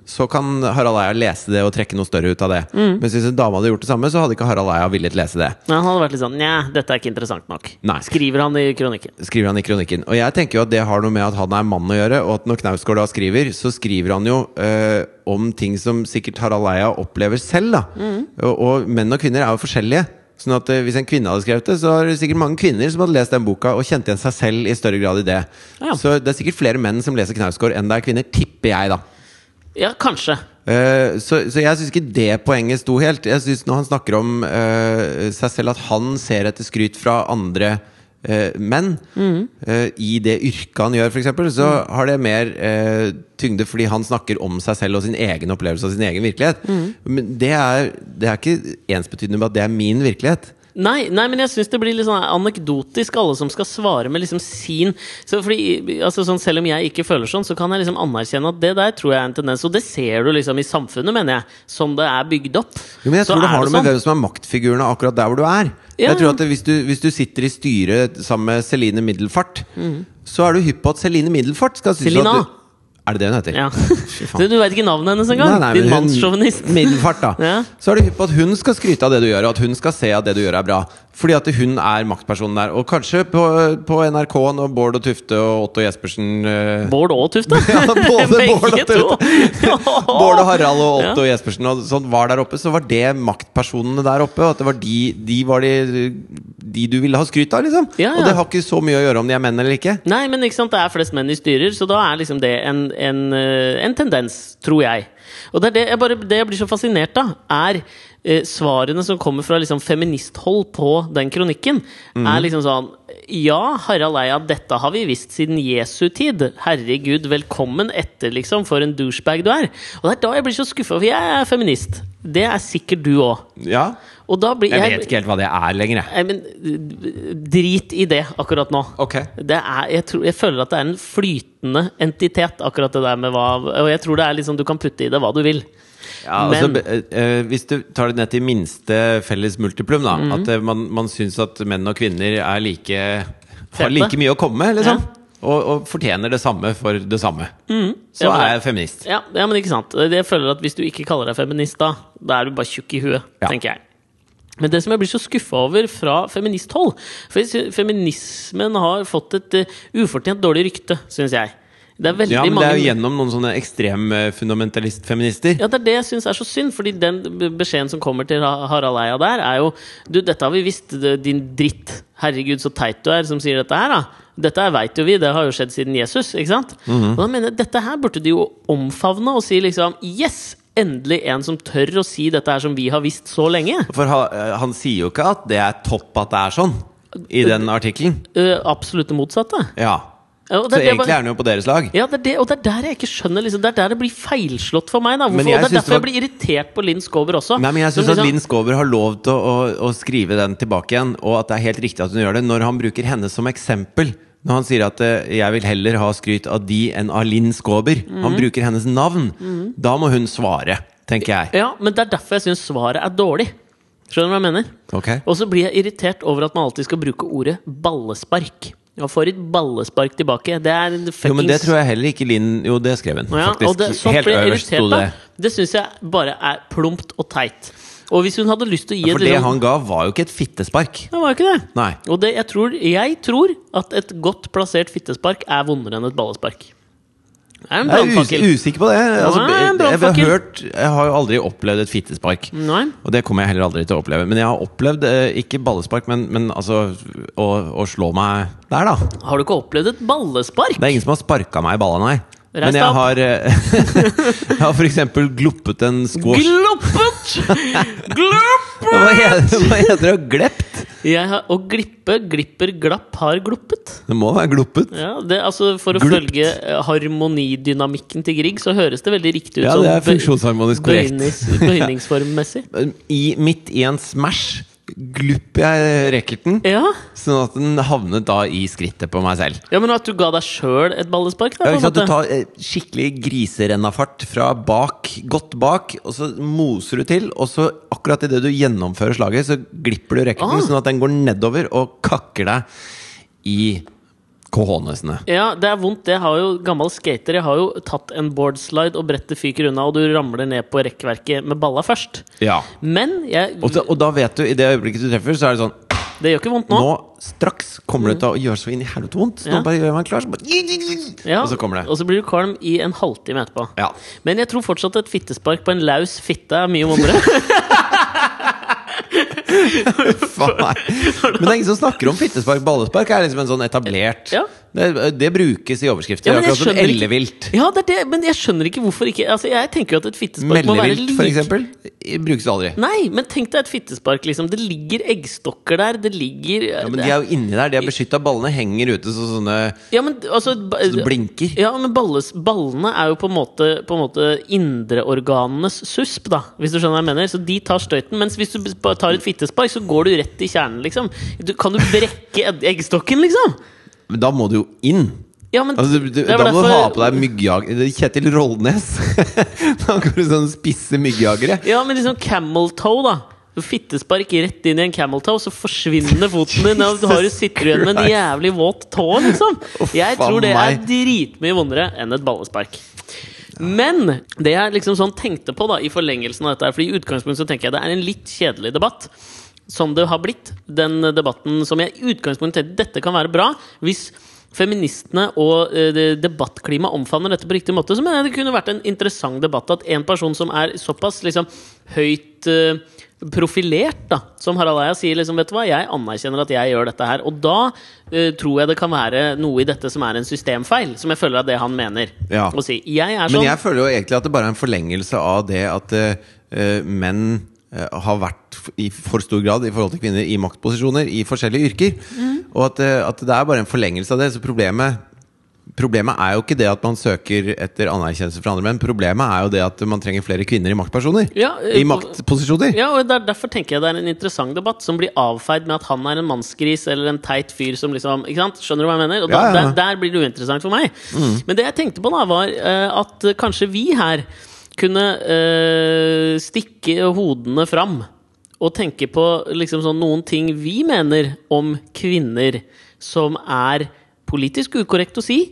B: så kan Harald Eia lese det og trekke noe større ut av det. Mens hvis en dame hadde gjort det samme, så hadde ikke Harald Eia villet lese det.
A: Men han hadde vært litt sånn Nja, dette er ikke interessant nok.
B: Nei.
A: Skriver han i kronikken.
B: skriver han i kronikken. Og jeg tenker jo at det har noe med at han er mann å gjøre, og at når Knausgård da skriver, så skriver han jo eh, om ting som sikkert Harald Eia opplever selv, da. Og, og menn og kvinner er jo forskjellige. Sånn at eh, Hvis en kvinne hadde skrevet det, så er det sikkert mange kvinner som hadde lest den boka og kjente igjen seg selv i større grad i det.
A: Ja.
B: Så det er sikkert flere menn som leser Knausgård enn det er kvinner, tipper jeg, da.
A: Ja, kanskje.
B: Eh, så, så jeg syns ikke det poenget sto helt. Jeg synes Når han snakker om eh, seg selv, at han ser etter skryt fra andre eh, menn eh, i det yrket han gjør, f.eks., så har det mer eh, tyngde fordi han snakker om seg selv og sin egen opplevelse og sin egen virkelighet. Men det er, det er ikke ensbetydende med at det er min virkelighet.
A: Nei, nei men jeg syns det blir litt sånn anekdotisk, alle som skal svare med liksom sin så fordi, altså sånn, Selv om jeg ikke føler sånn, så kan jeg liksom anerkjenne at det der tror jeg er en tendens. Og det ser du liksom i samfunnet, mener jeg, som det er bygd opp.
B: Jo, men jeg
A: Så
B: tror det
A: er
B: har
A: det
B: noe med
A: sånn.
B: hvem som er maktfiguren av akkurat der hvor du er.
A: Ja,
B: jeg tror
A: ja.
B: at det, hvis, du, hvis du sitter i
A: Mm.
B: styret sammen med Celine Middelfart, så er du hypp på at Celine Middelfart skal synes
A: Celina.
B: at du Er det det hun heter?
A: Ja.
B: Fy
A: Du,
B: faen.
A: du veit ikke navnet hennes engang!
B: Nei, nei,
A: Din
B: men hun-
A: mannssjåvinist.
B: Middelfart, da.
A: Ja.
B: Så er det hypp på at hun skal skryte av det du gjør, og at hun skal se at det du gjør er bra. Fordi at hun er maktpersonen der. Og kanskje på, på NRK når Bård og Tufte og Otto Jespersen eh,
A: Bård og Tufte!
B: Ja, både Bård og
A: Tufte!
B: Bård og Harald og Otto Jespersen og sånn var der oppe, så var det maktpersonene der oppe. Og at det var de, de var de, de du ville ha skryt av, liksom.
A: Ja, ja.
B: Og det har ikke så mye å gjøre om de er menn eller ikke.
A: Nei, men ikke sant, det er flest menn i styrer, så da er liksom det en, en, eh, en tendens, tror jeg. Og det er det jeg, bare, det jeg blir så fascinert av, er eh, svarene som kommer fra liksom feministhold på den kronikken.
B: Mm.
A: Er liksom sånn Ja, Harald Eia, dette har vi visst siden Jesu tid. Herregud, velkommen etter, liksom, for en douchebag du er. Og det er da jeg blir så skuffa, for jeg er feminist. Det er sikkert du òg.
B: Ja,
A: Og da blir
B: Jeg vet ikke helt hva det er lenger, jeg.
A: Nei, men eh, drit i det akkurat nå.
B: Ok.
A: Det er, jeg, tror, jeg føler at det er en flytende entitet, akkurat det der med hva Og jeg tror det er liksom, du kan putte i det hva du vil.
B: Ja, altså,
A: Men-
B: be- eh, eh, hvis du tar det ned til minste felles multiplum, da.
A: Mm.
B: At eh, man, man syns at menn og kvinner er like har
A: Fete.
B: like mye å komme med, liksom. Og, og fortjener det samme for det samme. Så
A: Mm. Ja, men-
B: er jeg feminist.
A: Ja, ja, men ikke sant. Jeg føler at hvis du ikke kaller deg feminist, da, da er du bare tjukk i huet,
B: Ja.
A: tenker jeg. Men det som jeg blir så skuffa over fra feministhold For jeg synes feminismen har fått et eh, ufortjent dårlig rykte, syns jeg. Det er veldig
B: Ja, men det
A: mange
B: er jo gjennom noen sånne ekstreme fundamentalistfeminister.
A: Ja, det er det jeg syns er så synd, fordi den b- beskjeden som kommer til Ha- Harald Eia der, er jo Du, dette har vi visst, det- din dritt. Herregud, så teit du er som sier dette her, da. Dette her veit jo vi, det har jo skjedd siden Jesus, ikke sant?
B: Mhm.
A: Og da mener jeg, dette her burde de jo omfavne og si liksom Yes! Endelig en som tør å si dette her som vi har visst så lenge.
B: For ha, eh, han sier jo ikke at det er topp at det er sånn, i den artikkelen.
A: Eh, absolutt det motsatte.
B: Ja.
A: Ja, og
B: Så
A: det- det var-
B: egentlig er han jo på deres lag.
A: Ja, det er det, og det er der jeg ikke skjønner liksom, Det er der det blir feilslått for meg. Da. Hvorfor,
B: Men
A: og
B: jeg
A: det er
B: synes
A: derfor
B: det var-
A: jeg blir irritert på Linn Skåber også.
B: Nei, men jeg
A: Som
B: syns at
A: liksom-
B: Linn Skåber har lov til å, å, å skrive den tilbake igjen, og at det er helt riktig at hun gjør det, når han bruker henne som eksempel. Når han sier at eh, 'jeg vil heller ha skryt av de enn av Linn Skåber'.
A: Mhm.
B: Han bruker hennes navn. Da må hun svare, tenker jeg.
A: Ja, men det er derfor jeg syns svaret er dårlig. Skjønner du hva jeg mener?
B: Ok?
A: Og så blir jeg irritert over at man alltid skal bruke ordet ballespark. Man får et ballespark tilbake. Det er en fuckings
B: Jo, men det tror jeg heller ikke Linn Jo, det skrev hun,
A: Ja, og
B: faktisk.
A: det, sånt
B: helt
A: blir jeg
B: øverst sto
A: irritert
B: det.
A: av. Det syns jeg bare er plumpt og teit. Og hvis hun hadde lyst til å gi
B: For
A: et
B: det
A: liksom-
B: han ga, var jo ikke et fittespark.
A: Det var jo ikke det.
B: Nei.
A: Og det, jeg, tror, jeg tror at et godt plassert fittespark er vondere enn et ballespark. Det er en
B: Jeg er us
A: brannfakkel.
B: usikker på det. Altså,
A: Nei,
B: jeg, jeg, har
A: brannfakkel.
B: hørt, jeg har jo aldri opplevd et fittespark.
A: Nei.
B: Og det kommer jeg heller aldri til å oppleve. Men jeg har opplevd, eh, ikke ballespark, men, men altså å, å slå meg der, da.
A: Har du ikke opplevd et ballespark?
B: Det er ingen som har sparka meg i balla, nei.
A: Reis
B: Men
A: deg
B: jeg
A: opp.
B: har, eh, jeg har for eksempel gloppet en squash
A: Gloppet! Gloppet!
B: Hva heter, hva heter det? Glept?
A: Jeg har, og glippe, glipper, glapp har gloppet.
B: Det må være gloppet.
A: Ja, det, altså For å
B: Glopt.
A: følge eh, harmonidynamikken til Grieg, så høres det veldig riktig ut.
B: Ja,
A: sånn
B: det er
A: bøy-
B: funksjonsharmonisk korrekt.
A: bøynings- Bøyningsformmessig.
B: I, midt i en smash glupper jeg racketen,
A: Ja.
B: sånn at den havnet da i skrittet på meg selv.
A: ja, men at du ga deg sjøl et ballespark? Da,
B: Ja,
A: på
B: ikke
A: en
B: sant? Du
A: måte.
B: tar eh, skikkelig griserennafart fra bak, godt bak, og så moser du til, og så akkurat idet du gjennomfører slaget, så glipper du racketen,
A: Ah.
B: sånn at den går nedover og kakker deg i cojonesene.
A: Ja, det er vondt. Jeg har jo gammel skater. Jeg har jo tatt en boardslide, og brettet fyker unna, og du ramler ned på rekkverket med balla først.
B: Ja.
A: Men jeg,
B: Og, da, og da vet du, i det øyeblikket du treffer, så er det sånn
A: det gjør ikke vondt
B: Nå
A: nå. Mm.
B: straks kommer det til å gjøre så inn i helvete vondt. Så
A: Ja.
B: nå bare gjør man klar, så bare
A: Ja,
B: Og så kommer det.
A: Og så blir du kvalm i en halvtime etterpå.
B: Ja.
A: Men jeg tror fortsatt et fittespark på en laus fitte er mye vondere.
B: Faen meg. Men det er ingen som snakker om fittespark. Ballespark er liksom en sånn etablert
A: Ja.
B: det, det brukes i overskrifter.
A: Ja, men jeg
B: akkurat som
A: skjønner ikke-
B: ellevilt.
A: ja, det er det, men jeg skjønner ikke hvorfor ikke Altså, Jeg tenker jo at et fittespark må være
B: Mellevilt,
A: lik
B: for eksempel, i- brukes aldri.
A: Nei, men tenk deg et fittespark, liksom. Det ligger eggstokker der, det ligger
B: Ja, men de er jo inni der. De er beskytta. Ballene henger ute så sånne
A: Ja, men altså ba-
B: så det blinker.
A: Ja, men balles, ballene er jo på en måte, på en måte indreorganenes susp, da, hvis du skjønner hva jeg mener. Så de tar støyten, mens hvis du b- bare tar et fittespark, så går du rett i kjernen, liksom. Du, kan du brekke egg- eggstokken, liksom?
B: Men da må du jo inn.
A: Ja, men
B: Altså, du,
A: det
B: da
A: er
B: må du
A: derfor-
B: ha på deg myggjager Kjetil Rollnes. da går du sånne sånn spisse myggjagere.
A: Ja, men liksom camel toe, da. Fittespark rett inn i en camel toe, så forsvinner foten din. Og du har du sitter igjen med en
B: Christ.
A: jævlig våt tå, liksom. Jeg
B: faen
A: tror det er
B: meg.
A: dritmye vondere enn et ballespark. Men det jeg liksom sånn tenkte på da i forlengelsen av dette her, Fordi i utgangspunktet så tenker jeg det er en litt kjedelig debatt. Som det har blitt. Den debatten som jeg i utgangspunktet tenkte dette kan være bra. Hvis feministene og eh, det- debattklimaet omfavner dette på riktig måte, så mener jeg det kunne vært en interessant debatt at en person som er såpass liksom høyt eh, profilert, da, som Harald Eia sier, liksom, vet du hva, jeg anerkjenner at jeg gjør dette her. Og da eh, tror jeg det kan være noe i dette som er en systemfeil, som jeg føler er det han mener
B: Ja.
A: å si. Jeg er
B: Men
A: sånn
B: jeg føler jo egentlig at det bare er en forlengelse av det at eh, eh, menn eh, har vært f- i for stor grad i forhold til kvinner i maktposisjoner i forskjellige yrker.
A: Mhm.
B: Og at, eh, at det er bare en forlengelse av det. Så problemet Problemet er jo ikke det at man søker etter anerkjennelse fra andre menn. Problemet er jo det at man trenger flere kvinner i maktpersoner.
A: Ja, eh,
B: I maktposisjoner.
A: Ja, og der, Derfor tenker jeg det er en interessant debatt, som blir avfeid med at han er en mannsgris eller en teit fyr som liksom ikke sant? Skjønner du hva jeg mener? Og da,
B: Ja, ja, Mm. ja.
A: Der, der blir det uinteressant for meg. Men det jeg tenkte på, da, var eh, at kanskje vi her kunne eh, stikke hodene fram og tenke på liksom sånn noen ting vi mener om kvinner som er politisk ukorrekt å si.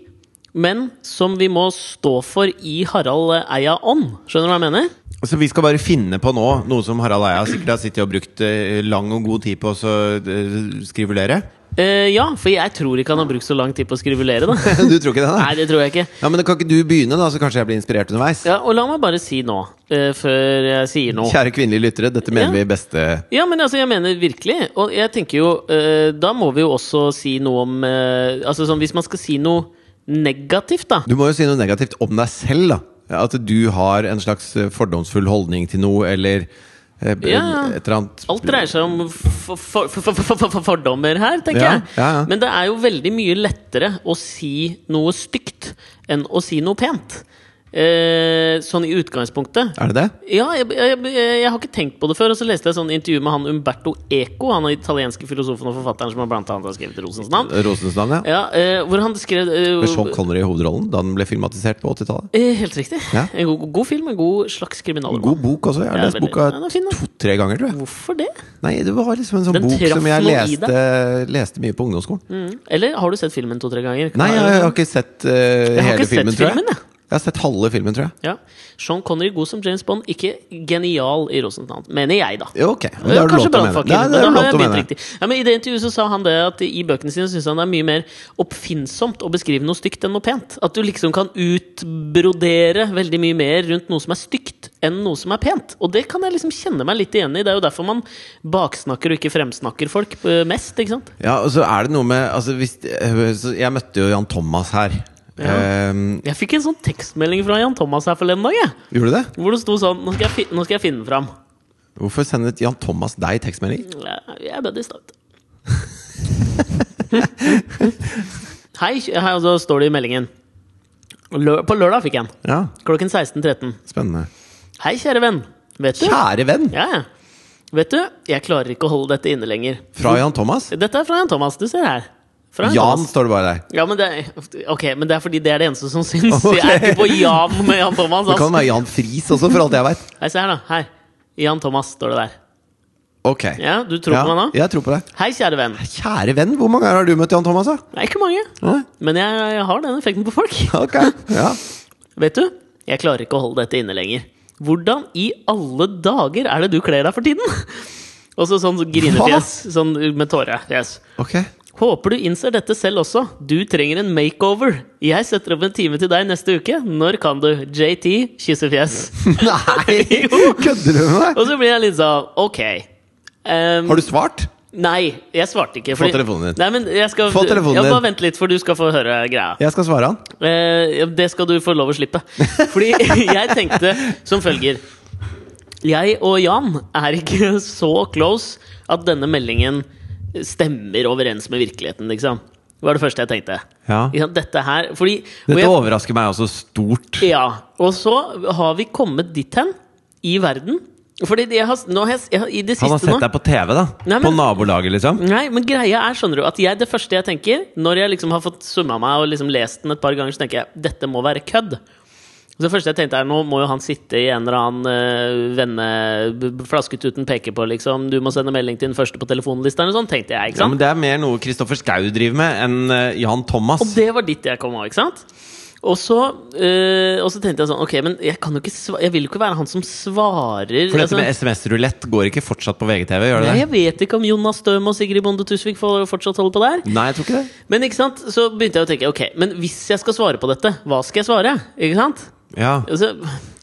A: Men som vi må stå for i Harald Eia ånd. Skjønner du hva jeg mener?
B: Så vi skal bare finne på nå noe som Harald Eia sikkert har sittet og brukt eh, lang og god tid på å så, eh, skrivulere.
A: Eh, ja, for jeg tror ikke han har brukt så lang tid på å skrivulere, da.
B: Du tror ikke det, da?
A: Nei, det tror jeg ikke.
B: Ja, men Kan ikke du begynne, da, så kanskje jeg blir inspirert underveis?
A: Ja, og la meg bare si nå, eh, før jeg sier noe.
B: Kjære kvinnelige lyttere, dette
A: Ja.
B: mener vi i beste
A: Ja, men altså, jeg mener virkelig. Og jeg tenker jo eh, Da må vi jo også si noe om eh, Altså sånn, hvis man skal si noe negativt, da.
B: Du må jo si noe negativt om deg selv, da. At du har en slags eh, fordomsfull holdning til noe, eller eh, b-
A: Ja.
B: et eller annet
A: Alt dreier seg om for, for, for, for, for, for, fordommer her, tenker
B: Ja,
A: jeg.
B: ja, ja.
A: Men det er jo veldig mye lettere å si noe stygt enn å si noe pent. Eh, sånn i utgangspunktet.
B: Er det det?
A: Ja, jeg, jeg, jeg, jeg har ikke tenkt på det før. Og så leste jeg sånn intervju med han Umberto Eco, han er italienske filosofen og forfatteren som har blant annet har skrevet Rosens navn.
B: Rosens navn, ja.
A: Ja, eh, hvor han skrev eh,
B: Med Sean Connery i hovedrollen da den ble filmatisert på 80-tallet.
A: eh, Helt riktig.
B: Ja.
A: En god, god film, en god slags kriminalroman.
B: God bok også. Jeg har
A: Ja,
B: lest
A: veldig-
B: boka
A: den er fin, da.
B: to-tre ganger, tror jeg.
A: Hvorfor det?
B: Nei, det var liksom en sånn
A: Den
B: bok
A: traff
B: som jeg
A: noe i
B: leste, leste mye på ungdomsskolen.
A: Mm. Eller har du sett filmen to-tre ganger? Kan
B: Nei, jeg,
A: være-
B: har ikke sett eh,
A: har
B: hele
A: ikke sett
B: filmen, tror jeg.
A: filmen, jeg.
B: Jeg har sett halve filmen, tror jeg.
A: ja. Sean Connery god som James Bond, ikke genial i Rosens navn. Mener jeg, da.
B: Jo, ok. Men
A: Det
B: det har du lov
A: Kanskje
B: til å mene.
A: brannfakkel.
B: Nei,
A: men
B: det
A: da
B: har
A: har
B: du lov
A: jeg
B: til å
A: begynt
B: mene.
A: riktig. Ja, men I det intervjuet så sa han det at i bøkene sine syns han det er mye mer oppfinnsomt å beskrive noe stygt enn noe pent. At du liksom kan utbrodere veldig mye mer rundt noe som er stygt, enn noe som er pent. Og det kan jeg liksom kjenne meg litt igjen i. Det er jo derfor man baksnakker og ikke fremsnakker folk eh, mest, ikke sant?
B: Ja, og så er det noe med altså, hvis, eh, så Jeg møtte jo Jan Thomas her.
A: Ja.
B: Ehm,
A: Jeg fikk en sånn tekstmelding fra Jan Thomas her forleden dag, jeg.
B: gjorde du det?
A: Hvor det sto sånn Nå skal jeg, fi nå skal jeg finne den fram.
B: Hvorfor sendte Jan Thomas deg tekstmelding?
A: Jeg- Jeg bød i stad. Hei, kj- her altså står det i meldingen. Lø på lørdag fikk jeg en.
B: Ja,
A: Klokken 16.13.
B: spennende.
A: Hei, kjære venn. Vet du?
B: Kjære venn!
A: Ja, ja. Vet du, jeg klarer ikke å holde dette inne lenger.
B: Fra Jan Thomas?
A: Dette er fra Jan Thomas. Du ser her. Fra Jan
B: Jan,
A: Thomas.
B: står det bare der.
A: Ja, men det er, ok, men det er fordi det er det eneste som syns. Jeg
B: Ok.
A: er ikke på Jan med Jan Thomas.
B: Det
A: ass.
B: kan være Jan Friis også, for alt jeg veit.
A: Hei, se her, da. Her. Jan Thomas står det der.
B: Ok.
A: Ja, Du tror på meg nå?
B: Jeg tror på deg.
A: Hei, kjære venn.
B: Kjære venn, hvor mange ganger har du møtt Jan Thomas? da?
A: Det er ikke mange,
B: Nei?
A: men jeg, jeg har den effekten på folk.
B: Ok, ja
A: Vet du, jeg klarer ikke å holde dette inne lenger. Hvordan i alle dager er det du kler deg for tiden? Og så sånn grinefjes, sånn med tårefjes.
B: Ok
A: Håper du innser dette selv også. Du trenger en makeover. Jeg setter opp en time til deg neste uke. Når kan du? JT, kyssefjes.
B: Nei,
A: Jo.
B: kødder du med meg?
A: Og så blir jeg litt sånn, ok. Ehm,
B: Har du svart?
A: Nei, jeg svarte ikke.
B: telefonen din.
A: Nei, men jeg skal,
B: Få telefonen
A: ja,
B: din.
A: Bare vent litt, for du skal få høre greia.
B: Jeg skal svare han
A: Eh, ja, det skal du få lov å slippe. Fordi jeg tenkte som følger Jeg og Jan er ikke så close at denne meldingen stemmer overens med virkeligheten, liksom. Det var det første jeg tenkte.
B: Ja.
A: Ikke sant? Dette her Fordi og
B: Dette
A: jeg,
B: overrasker meg også stort
A: ja, og så har vi kommet dit hen i verden. Fordi jeg har, nå har jeg, jeg, har- i det siste
B: Han har sett
A: nå
B: deg på TV da
A: Nei, men-
B: På nabolaget liksom
A: Nei, men greia er skjønner du, at jeg, det første jeg tenker, når jeg liksom har fått summa meg og liksom lest den et par ganger, så tenker jeg dette må være kødd. Så det første jeg tenkte er, nå må jo han sitte i en eller annen eh, venne... b- b- Flasketuten peker på, liksom. Du må sende melding til den første på telefonlista, eller sånn, tenkte jeg. ikke
B: Ja,
A: sant?
B: men det er mer noe Kristoffer Schou driver med, enn eh, Jan Thomas.
A: Og det var dit jeg kom av, ikke sant? Og så, eh, og så tenkte jeg sånn Ok, men jeg, kan jo ikke sva jeg vil jo ikke være han som svarer.
B: For
A: altså-
B: dette med SMS-rulett går ikke fortsatt på VGTV, gjør det
A: Nei,
B: det?
A: jeg vet ikke om Jonas Støm og Sigrid Bonde Tusvik får fortsatt holde på der.
B: Nei, jeg tror ikke det.
A: Men ikke sant, så begynte jeg å tenke Ok, men hvis jeg skal svare på dette, hva skal jeg svare? Ikke sant?
B: Ja.
A: Altså,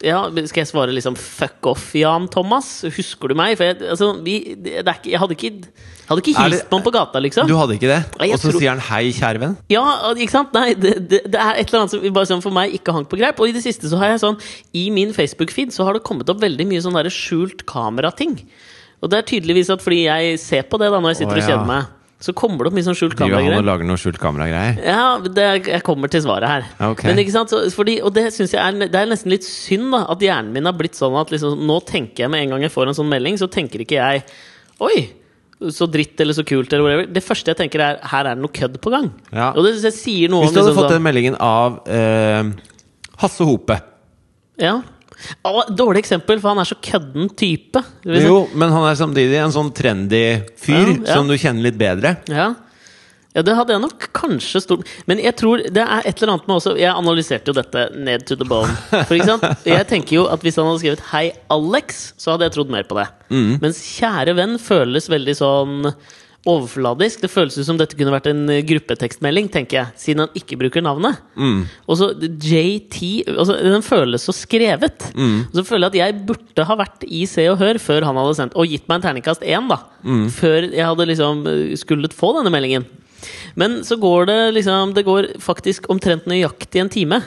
A: ja, men skal jeg svare liksom 'fuck off, Jan Thomas'? Husker du meg? For jeg, altså, vi, det er ikke, jeg hadde ikke, jeg hadde ikke
B: Er
A: hilst
B: det-
A: på han på gata, liksom.
B: Du hadde ikke det?
A: Nei, jeg
B: Og så
A: tror-
B: sier han 'hei, kjære venn'.
A: Ja, ikke sant? Nei, det, det, det er et eller annet som bare sånn for meg ikke hang på greip. Og i det siste så har jeg sånn I min Facebook-feed så har det kommet opp veldig mye sånn derre skjult kamerating. Og det er tydeligvis at fordi jeg ser på det da når jeg sitter
B: Å,
A: og
B: ja.
A: kjeder meg, så kommer det opp mye sånn skjult
B: Driver han og
A: kameragreier.
B: lager noe skjult kameragreier?
A: Ja, det, jeg kommer til svaret her.
B: Ok.
A: Men ikke sant, så, fordi, Og det synes jeg er, det er nesten litt synd da at hjernen min har blitt sånn at liksom, nå tenker jeg med en gang jeg får en sånn melding, så tenker ikke jeg Oi! Så dritt eller så kult eller whatever. Det første jeg tenker, er her er det noe kødd på gang.
B: Ja.
A: Og det synes jeg sier noe
B: Hvis du
A: om liksom
B: hadde fått den
A: sånn-
B: meldingen av eh, Hasse Hope
A: ja. Å, Dårlig eksempel, for han er så kødden type. Liksom.
B: Jo, men han er samtidig en sånn trendy fyr
A: Ja, ja.
B: som du kjenner litt bedre.
A: Ja. ja, det hadde jeg nok kanskje stort Men jeg tror det er et eller annet med også Jeg analyserte jo dette ned to the bone. For ikke sant? Jeg tenker jo at Hvis han hadde skrevet 'Hei, Alex', så hadde jeg trodd mer på det. Mens 'kjære venn' føles veldig sånn overfladisk. Det føles ut som dette kunne vært en eh, gruppetekstmelding, tenker jeg. Siden han ikke bruker navnet. Og så JT altså, Den føles så skrevet. Og så føler jeg at jeg burde ha vært i Se og Hør før han hadde sendt, og gitt meg en terningkast én, da. Før jeg hadde liksom eh, skullet få denne meldingen. Men så går det liksom Det går faktisk omtrent nøyaktig en time.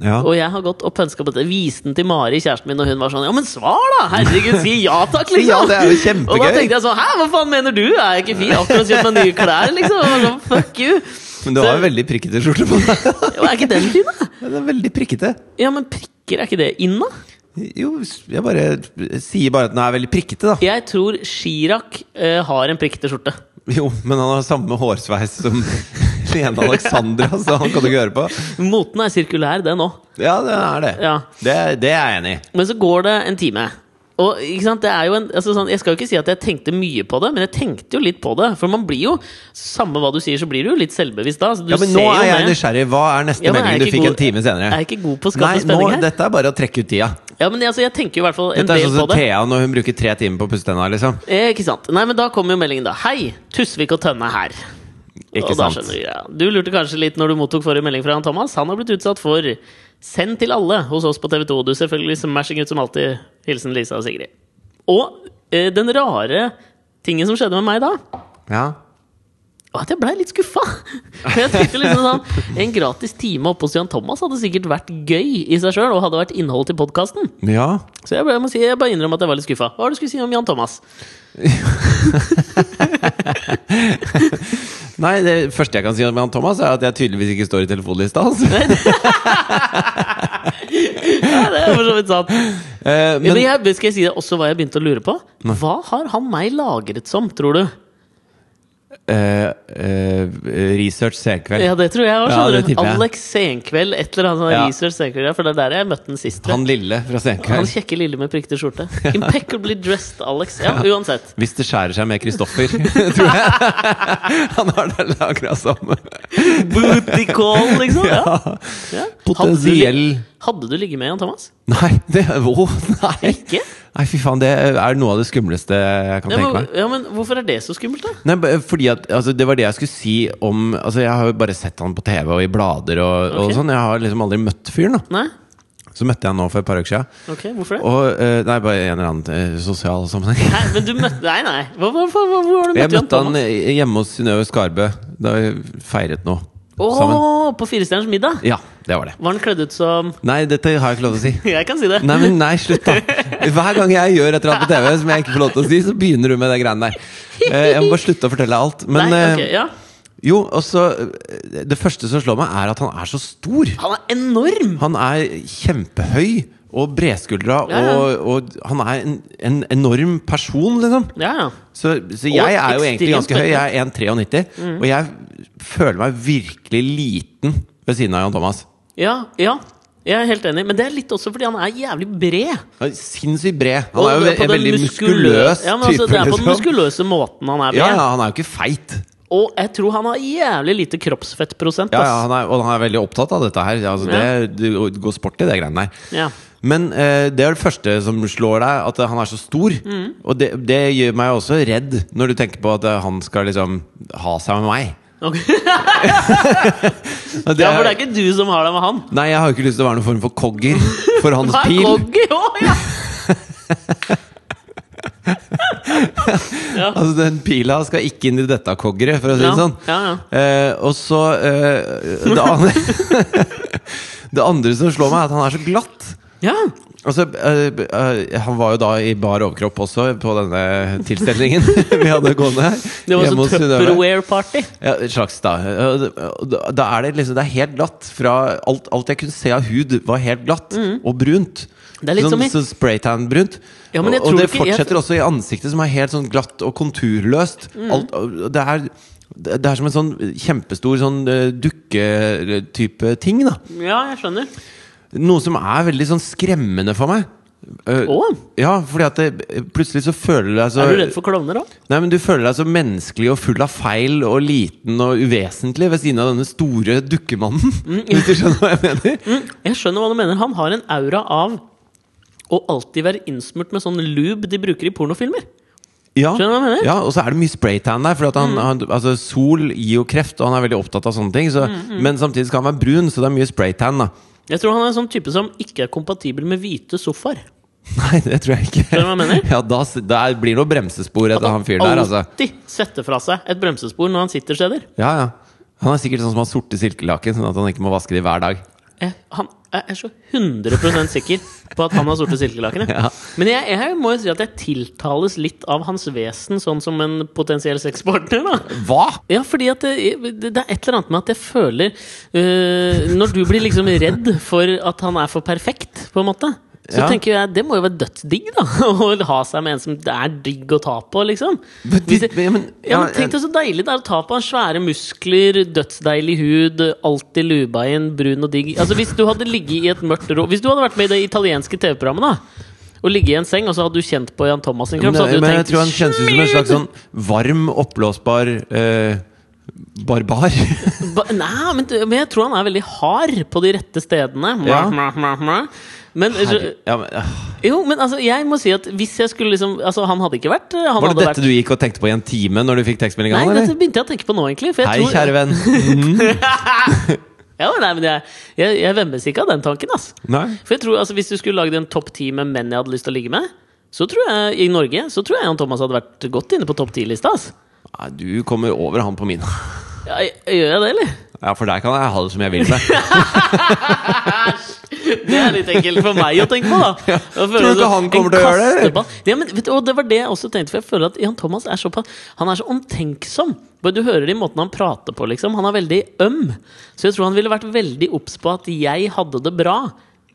B: Ja.
A: Og jeg har gått og pønska på dette. Viste den til Mari, kjæresten min, og hun var sånn Ja, men svar, da! Herregud, si ja takk, liksom!
B: Ja, det er jo kjempegøy.
A: Og da tenkte jeg sånn Hæ, hva faen mener du? Er jeg ikke fin? Akkurat kjøpt meg nye klær, liksom? Og sånn, Fuck you!
B: Men du har jo veldig prikkete skjorte på deg.
A: Og er ikke den fin, da?
B: Den er veldig prikkete.
A: Ja, men prikker, er ikke det in, da?
B: Jo, jeg bare jeg sier bare at den er veldig prikkete, da.
A: Jeg tror Chirac eh, har en prikkete skjorte.
B: Jo, men han har samme hårsveis som Lene Alexandra, så han kan du ikke høre på.
A: Moten er sirkulær, den òg.
B: Ja, det er det.
A: Ja.
B: Det, det er jeg enig i.
A: Men så går det en time. Og ikke sant, det er jo en, altså sånn, Jeg skal jo ikke si at jeg tenkte mye på det, men jeg tenkte jo litt på det. For man blir jo, samme hva du sier, så blir du jo litt selvbevisst da. Så du
B: Ja, men nå
A: ser jo
B: er jeg
A: med.
B: nysgjerrig. Hva er neste
A: Ja, men er
B: melding
A: jeg
B: du
A: ikke
B: fikk
A: god-
B: en time senere?
A: Er jeg ikke god på å
B: Nei,
A: skape
B: nå,
A: spenning her?
B: dette er bare å trekke ut tida.
A: Ja, men altså, jeg tenker jo i hvert fall en
B: Dette er
A: del
B: sånn
A: på
B: som
A: det.
B: Thea når hun bruker tre timer på å pusse tenna, liksom.
A: Eh, ikke sant. Nei, men da kommer jo meldingen, da. Hei, Tusvik og Tønne her.
B: Ikke
A: og da
B: sant.
A: skjønner du greia. Du lurte kanskje litt når du mottok forrige melding fra han Thomas. Han har blitt utsatt for Send til alle hos oss på TV2. Du ser selvfølgelig smashing ut som alltid. Hilsen Lisa og Sigrid. Og eh, den rare tingen som skjedde med meg da,
B: Ja.
A: var at jeg blei litt skuffa. For jeg tenkte liksom sånn En gratis time oppe hos Jan Thomas hadde sikkert vært gøy i seg sjøl, og hadde vært innhold til podkasten.
B: ja.
A: Så jeg, ble, jeg må si, jeg bare innrømmer at jeg var litt skuffa. Hva var det du skulle si om Jan Thomas?
B: Nei, det første jeg kan si om han Thomas, er at jeg tydeligvis ikke står i telefonlista altså. hans.
A: Ja, det er for så vidt sant.
B: Eh,
A: Ja,
B: men
A: men jeg, skal jeg si det også hva jeg begynte å lure på? Hva har han meg lagret som, tror du?
B: eh, eh, research senkveld.
A: Ja, det tror jeg òg,
B: Ja,
A: skjønner
B: det
A: du.
B: tipper jeg.
A: Alex Senkveld, et eller annet sånn
B: Ja.
A: research Senkveld, ja, for det er der jeg møtte den sist. tror jeg.
B: Han lille fra
A: Han
B: Senkveld.
A: kjekke lille med prikkete skjorte. Impeccably dressed Alex. Ja, uansett.
B: Hvis det skjærer seg med Kristoffer, tror jeg. Han har det lagra sammen.
A: Booty call, liksom. Ja. Ja. Hadde du lig-
B: Potensiell
A: Hadde du ligget med Jan Thomas?
B: Nei, det oh, nei.
A: Ikke?
B: nei, fy faen. Det er noe av det skumleste jeg kan
A: Ja,
B: tenke
A: men,
B: meg.
A: ja, men hvorfor er det så skummelt, da?
B: Nei, b- fordi at, altså, Det var det jeg skulle si om altså, Jeg har jo bare sett han på TV og i blader. og,
A: Ok.
B: og sånn Jeg har liksom aldri møtt fyren. da
A: Nei?
B: Så møtte jeg han nå for et par uker siden.
A: Ok, hvorfor det?
B: Og, eh, nei, bare i en eller annen eh, sosial sammenheng.
A: Nei, men du møtte Nei, nei. Hvor, hvor, hvor, hvor, har du
B: Jeg
A: møtt Jan
B: møtte han
A: Thomas?
B: eh, hjemme hos Synnøve Skarbø da vi feiret noe
A: Å,
B: sammen.
A: på Firestjerners middag?
B: Ja, det var det.
A: Var han kledd ut som
B: Nei, dette har jeg ikke lov til å si.
A: Jeg kan si det.
B: Nei, men nei, slutt, da. Hver gang jeg gjør et eller annet på TV som jeg ikke får lov til å si, så begynner du med det greiene der. Eh, Jeg må bare slutte å fortelle alt. Men
A: Nei,
B: eh,
A: ok, ja.
B: jo, og så eh, Det første som slår meg, er at han er så stor.
A: Han er enorm!
B: Han er kjempehøy og bredskuldra,
A: Ja, ja.
B: og, og han er en, en enorm person, liksom.
A: Ja, ja.
B: Så, så jeg er jo
A: ekstremt
B: egentlig
A: Mm.
B: ganske høy. Jeg er 1,93. Og jeg føler meg virkelig liten ved siden av Jan Thomas.
A: Ja, ja. Jeg er helt enig, men det er litt også fordi han er jævlig bred.
B: Han er Sinnssykt bred. Han er
A: Og
B: jo
A: det
B: en
A: på den
B: veldig
A: muskulø-
B: muskuløs
A: ja, men altså,
B: type.
A: Det er på den
B: liksom.
A: muskuløse måten han er bred.
B: Ja, ja, han er jo ikke feit.
A: Og jeg tror han har jævlig lite kroppsfettprosent.
B: Ja,
A: ass.
B: ja, han er, og han er veldig opptatt av dette her. Altså, det, det går sport i det greiene der.
A: Ja.
B: Men eh, det er det første som slår deg, at han er så stor.
A: Mm.
B: Og det, det gjør meg også redd, når du tenker på at eh, han skal liksom ha seg med meg.
A: Ok.
B: Og det
A: ja, for det
B: er-
A: er ikke du som har det med han.
B: Nei, jeg har jo ikke lyst til å være noen form for kogger for hans
A: Nei,
B: pil.
A: Kogge, jo, ja.
B: Altså, den pila skal ikke inn i dette koggeret, for å si det
A: Ja,
B: sånn.
A: ja, ja.
B: Eh, og så eh, det, andre, det andre som slår meg, er at han er så glatt.
A: ja.
B: Altså, eh, eh, han var jo da i bar overkropp også på denne tilstelningen vi hadde gående her.
A: Det var sånn
B: hjemme
A: så
B: hos Synnøve.
A: Tupperware-party.
B: Ja, et slags, da. Eh, og Da da er det liksom Det er helt glatt. Fra alt, alt jeg kunne se av hud, var helt glatt og brunt.
A: Mm. Det er litt som i-
B: sånn så spraytan-brunt.
A: Ja, men jeg
B: og
A: tror
B: og det
A: ikke- jeg-
B: fortsetter også i ansiktet, som er helt sånn glatt og konturløst.
A: Mm.
B: Alt, og det er det er som en sånn kjempestor sånn eh, dukketype ting, da.
A: Ja, jeg skjønner.
B: Noe som er veldig sånn skremmende for meg. Eh,
A: Å?
B: Ja, fordi at det, plutselig så føler du deg så
A: Er du redd for klovner òg?
B: Nei, men Du føler deg så menneskelig og full av feil og liten og uvesentlig ved siden av denne store dukkemannen.
A: Mm,
B: Hvis du skjønner hva jeg mener?
A: Jeg skjønner hva du mener. Han har en aura av å alltid være innsmurt med sånn lube de bruker i pornofilmer.
B: Ja,
A: Skjønner du hva jeg mener? Mm.
B: ja Og så er det mye spraytan der. For at han, han, altså, sol gir jo kreft, og han er veldig opptatt av sånne ting. Så,
A: Mm,
B: Men samtidig skal han være brun, så det er mye spraytan. da
A: Jeg tror han er en sånn type som ikke er kompatibel med hvite sofaer.
B: Nei, det tror jeg ikke.
A: du hva jeg mener?
B: Ja, da, s- der blir det noe bremsespor etter han fyren der. altså
A: alltid setter fra seg et bremsespor når han sitter steder.
B: Ja, ja Han er sikkert sånn som har sorte silkelaken, sånn at han ikke må vaske de hver dag.
A: Jeg, han, jeg er så 100 sikker på at han har sorte silkelaken. jeg.
B: Ja.
A: Men jeg, jeg må jo si at jeg tiltales litt av hans vesen, sånn som en potensiell sexpartner. da
B: Hva?!
A: ja, fordi at det, det er et eller annet med at jeg føler øh, Når du blir liksom redd for at han er for perfekt, på en måte, så
B: Ja.
A: tenker jeg det må jo være dødsdigg, da! Å ha seg med en som det er digg å ta på, liksom.
B: Men
A: Hvis
B: det-
A: det-
B: men- men-
A: ja, men
B: ja,
A: Tenk deg så deilig det er å ta på han svære muskler, dødsdeilig hud, alltid luba inn, brun og digg. Altså Hvis du hadde ligget i et mørkt rom Hvis du hadde vært med i det italienske TV-programmet, da, og ligget i en seng, og så hadde du kjent på Jan Thomas sin kropp, så
B: Men, eh,
A: hadde du
B: men jeg
A: tenkt
B: tror han kjennes ut som en
A: «Smid!»
B: slags sånn varm, oppblåsbar eh, barbar.
A: Ba, nei, men, du- men jeg tror han er veldig hard på de rette stedene. Mwah,
B: Ja.
A: mwah, mwah, mwah. Men, eh,
B: Herre- ja, men, ah.
A: jo, men altså, jeg må si at hvis jeg skulle liksom Altså, han hadde ikke vært han
B: var det
A: hadde
B: dette
A: vært,
B: du gikk og tenkte på i en time når du fikk tekstmelding? av
A: Nei,
B: han,
A: dette
B: eller?
A: begynte jeg å tenke på nå, egentlig. For jeg
B: Hei,
A: tror,
B: kjære venn.
A: Ja, nei, men jeg, jeg, jeg vemmes ikke av den tanken, ass.
B: Nei.
A: For jeg tror, altså, Hvis du skulle lagd en topp ti med menn jeg hadde lyst til å ligge med, så tror jeg i Norge så tror jeg Jan Thomas hadde vært godt inne på topp ti-lista. ass
B: Nei, Ah, du kommer over han på min.
A: ja, jeg- Gjør jeg det, eller?
B: Ja, for der kan jeg ha det som jeg vil med.
A: Det er litt enkelt for meg å tenke på, da. Tror
B: Tror du ikke han kommer til å gjøre det, eller?
A: Ja, men, vet du, og det var det jeg også tenkte, for jeg føler at Jan Thomas er såpass Han er så omtenksom. Bare Du hører det i måten han prater på, liksom. Han er veldig øm. Så jeg tror han ville vært veldig obs på at jeg hadde det bra.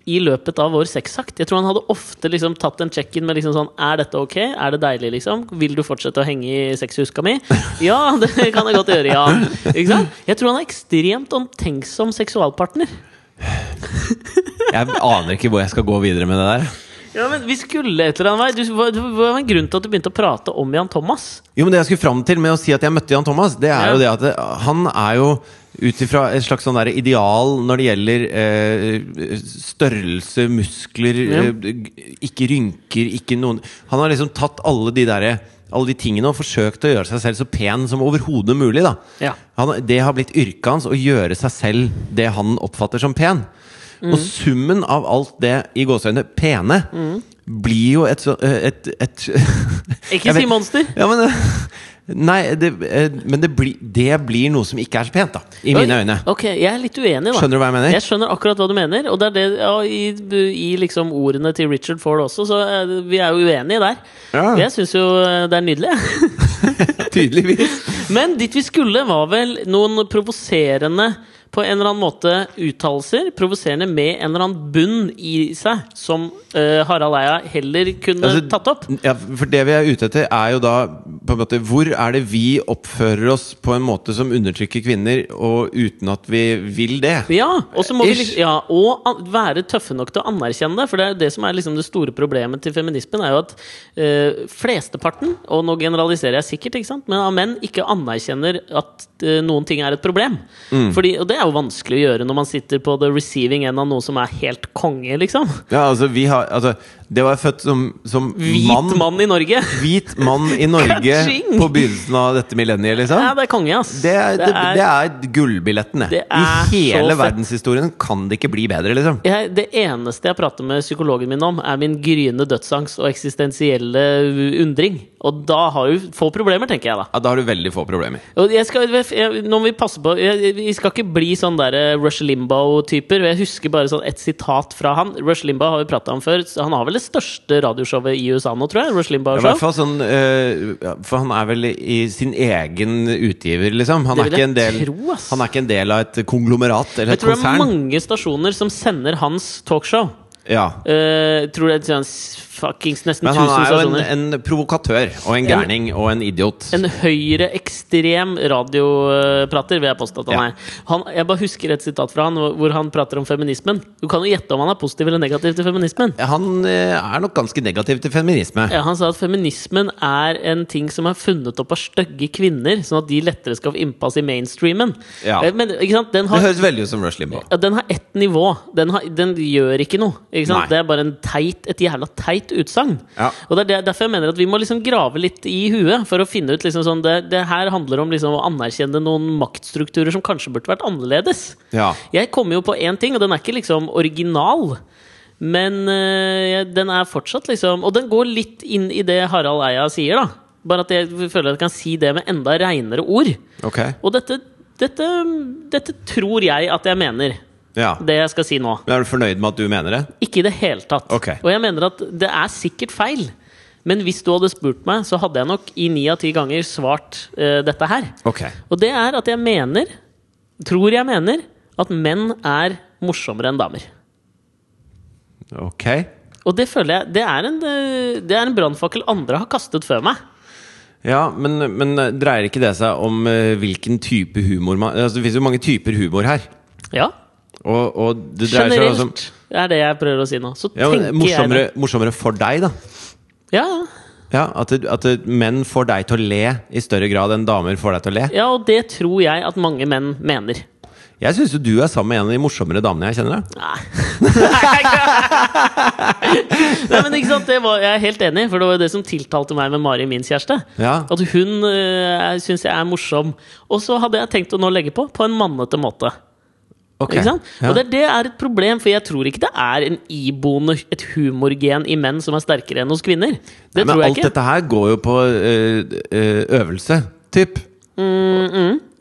A: I løpet av vår sexakt. Jeg tror han hadde ofte liksom tatt en check-in med liksom sånn Er dette ok? Er det deilig, liksom? Vil du fortsette å henge i sexhuska mi? Ja, det kan jeg godt gjøre, ja. Ikke sant? Jeg tror han er ekstremt omtenksom seksualpartner.
B: Jeg aner ikke hvor jeg skal gå videre med det der.
A: Ja, men vi skulle et eller annet vei. Du, hva, hva var en grunn til at du begynte å prate om Jan Thomas?
B: Jo, men Det jeg skulle fram til med å si at jeg møtte Jan Thomas, det er
A: Ja.
B: jo det at det, han er jo ut ifra et slags sånn der ideal når det gjelder eh, størrelse, muskler, eh, g- ikke rynker, ikke noen Han har liksom tatt alle de derre alle de tingene og forsøkt å gjøre seg selv så pen som overhodet mulig. da
A: Ja.
B: han, Det har blitt yrket hans å gjøre seg selv det han oppfatter som pen.
A: Mm.
B: Og summen av alt det i gåseøynene pene
A: Mm.
B: blir jo et, så- eh, et, et
A: Ikke
B: Jeg vet-
A: si monster.
B: ja, men eh, Nei, det, eh, men det, blir- det blir noe som ikke er så pent, da. I mine øyne.
A: Ok, Jeg er litt uenig, da.
B: Skjønner du hva jeg mener?
A: Jeg skjønner akkurat hva du mener. Og det er det, ja, i, i liksom ordene til Richard Ford også, så eh, vi er jo uenige der.
B: Ja.
A: Jeg syns jo eh, det er nydelig.
B: Tydeligvis.
A: Men dit vi skulle, var vel noen provoserende på en eller annen måte uttalelser, provoserende, med en eller annen bunn i seg, som eh, Harald Eia heller kunne
B: Altså,
A: tatt opp.
B: Ja, for det vi er ute etter, er jo da på en måte Hvor er det vi oppfører oss på en måte som undertrykker kvinner, og uten at vi vil det?
A: Ja, og så må vi
B: Ish.
A: liksom, ja, og an- være tøffe nok til å anerkjenne det. For det er jo det som er liksom det store problemet til feminismen, er jo at eh, flesteparten, og nå generaliserer jeg sikkert, ikke sant, men av menn ikke anerkjenner at eh, noen ting er et problem.
B: Mm.
A: Fordi, og det er jo vanskelig å gjøre når man sitter på the receiving end av noe som er helt konge, liksom.
B: Ja, altså, vi har Altså, det var født som, som
A: Hvit mann, i Norge!
B: Hvit mann i Norge
A: Ka-ching!
B: på begynnelsen av dette millenniet,
A: Ja,
B: liksom.
A: det er konge, ass!
B: Det er, det, det er gullbilletten, det.
A: Det er
B: I
A: så
B: hele
A: fett.
B: verdenshistorien kan det ikke bli bedre, liksom.
A: jeg, det eneste jeg prater med psykologen min om, er min gryende dødsangst og eksistensielle undring. Og da har du få problemer, tenker jeg da.
B: Ja, da har du veldig få problemer.
A: Og jeg skal, jeg, nå må vi passe på jeg, Vi skal ikke bli sånn der eh, Rush Limbaugh-typer. og Jeg husker bare sånn et sitat fra han. Rush Limbaugh har vi prata om før. så Han har vel det største radioshowet i USA nå, tror jeg? Rush
B: Ja, i hvert
A: Limbaugh-show.
B: fall sånn eh, ja, For han er vel i sin egen utgiver, liksom. Han
A: Det
B: er,
A: vil
B: ikke
A: jeg
B: en del,
A: tro, ass.
B: han er ikke en del av et konglomerat eller
A: Jeg
B: et
A: tror det er
B: konsern.
A: mange stasjoner som sender hans talkshow.
B: Ja.
A: Eh, tror det er sånn s- fuckings nesten
B: Men han
A: 1000
B: er jo en,
A: stasjoner.
B: en provokatør og en gærning og en idiot.
A: En høyreekstrem radioprater, vil jeg påstå at han
B: Ja.
A: er. Han, jeg bare husker et sitat fra han hvor- hvor han prater om feminismen. Du kan jo gjette om han er positiv eller negativ til feminismen.
B: Han eh, er nok ganske negativ til feminisme.
A: Ja, han sa at feminismen er en ting som er funnet opp av stygge kvinner, sånn at de lettere skal få innpass i mainstreamen.
B: Ja.
A: Eh, Men ikke sant? Den
B: Det
A: har,
B: høres veldig ut som Rush Limbaugh.
A: ja, den har ett nivå. Den, har, den gjør ikke noe. Ikke sant?
B: Nei.
A: Det er bare en teit, et jævla teit utsagn.
B: Ja.
A: Og det er der- derfor jeg mener at vi må liksom grave litt i huet for å finne ut liksom sånn det, det her handler om liksom å anerkjenne noen maktstrukturer som kanskje burde vært annerledes.
B: Ja.
A: Jeg kommer jo på én ting, og den er ikke liksom original. Men øh, den er fortsatt liksom Og den går litt inn i det Harald Eia sier, da. Bare at jeg føler at jeg kan si det med enda reinere ord.
B: Ok.
A: Og dette, dette, dette tror jeg at jeg mener,
B: Ja.
A: det jeg skal si nå.
B: Men er du fornøyd med at du mener det?
A: Ikke i det hele tatt.
B: Ok.
A: Og jeg mener at det er sikkert feil. Men hvis du hadde spurt meg, så hadde jeg nok i ni av ti ganger svart øh, dette her.
B: Ok.
A: Og det er at jeg mener, tror jeg mener, at menn er morsommere enn damer.
B: Ok.
A: Og det føler jeg Det er en, eh, det er en brannfakkel andre har kastet før meg.
B: Ja, men, men eh, dreier ikke det seg om eh, hvilken type humor man altså, Det fins jo mange typer humor her.
A: Ja,
B: Og, og det dreier seg også om
A: generelt er det jeg prøver å si nå. Så
B: ja, men,
A: tenker
B: morsommere,
A: jeg det.
B: morsommere for deg, da.
A: Ja, ja.
B: Ja, at, det- at det- menn får deg til å le i større grad enn damer får deg til å le.
A: ja, og det tror jeg at mange menn mener.
B: Jeg syns jo du er sammen med en av de morsommere damene jeg kjenner. Da.
A: Nei. Nei, men ikke sant, det var, Jeg er helt enig, for det var jo det som tiltalte meg med Mari, min kjæreste.
B: Ja.
A: At hun øh, syns jeg er morsom. Og så hadde jeg tenkt å nå legge på på en mannete måte.
B: Ok.
A: Ikke sant?
B: Ja.
A: Og det, det er et problem, for jeg tror ikke det er en iboende et humorgen i menn som er sterkere enn hos kvinner. Det
B: Nei, men
A: tror jeg
B: alt
A: ikke.
B: dette her går jo på eh, eh, øvelse, typ.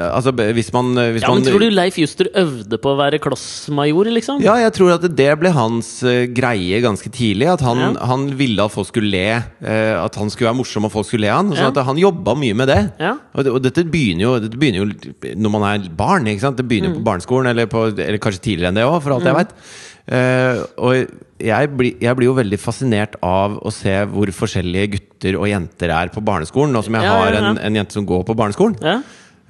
B: Altså, b- hvis man, eh, hvis
A: Mm, ja, men
B: man
A: Tror du Leif Juster øvde på å være klossmajor, liksom?
B: Ja, jeg tror at det ble hans eh, greie ganske tidlig. At han,
A: Ja.
B: han ville at folk skulle le. eh, at han skulle være morsom og folk skulle le han. Sånn
A: Ja.
B: at Han jobba mye med det.
A: Ja.
B: Og, det- og dette, begynner jo, dette begynner jo når man er barn. ikke sant? Det begynner jo
A: Mm.
B: på barneskolen, eller, på, eller kanskje tidligere enn det òg, for alt jeg veit. og jeg, blir- jeg blir jo veldig fascinert av å se hvor forskjellige gutter og jenter er på barneskolen. Nå som jeg
A: Ja, ja,
B: har
A: ja.
B: En, en jente som går på barneskolen.
A: Ja.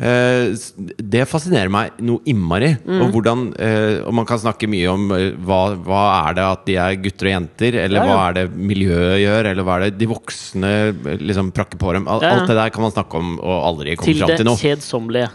B: Eh, s- Det fascinerer meg noe innmari.
A: Mm.
B: Og, hvordan, eh, og man kan snakke mye om eh, hva, hva er det at de er gutter og jenter, eller
A: Ja,
B: hva
A: ja.
B: er det miljøet gjør, eller hva er det de voksne eh, liksom prakker på dem. Al-
A: Ja, ja.
B: Alt det der kan man snakke om og aldri komme
A: Til
B: fram
A: det
B: til noe.
A: kjedsommelige.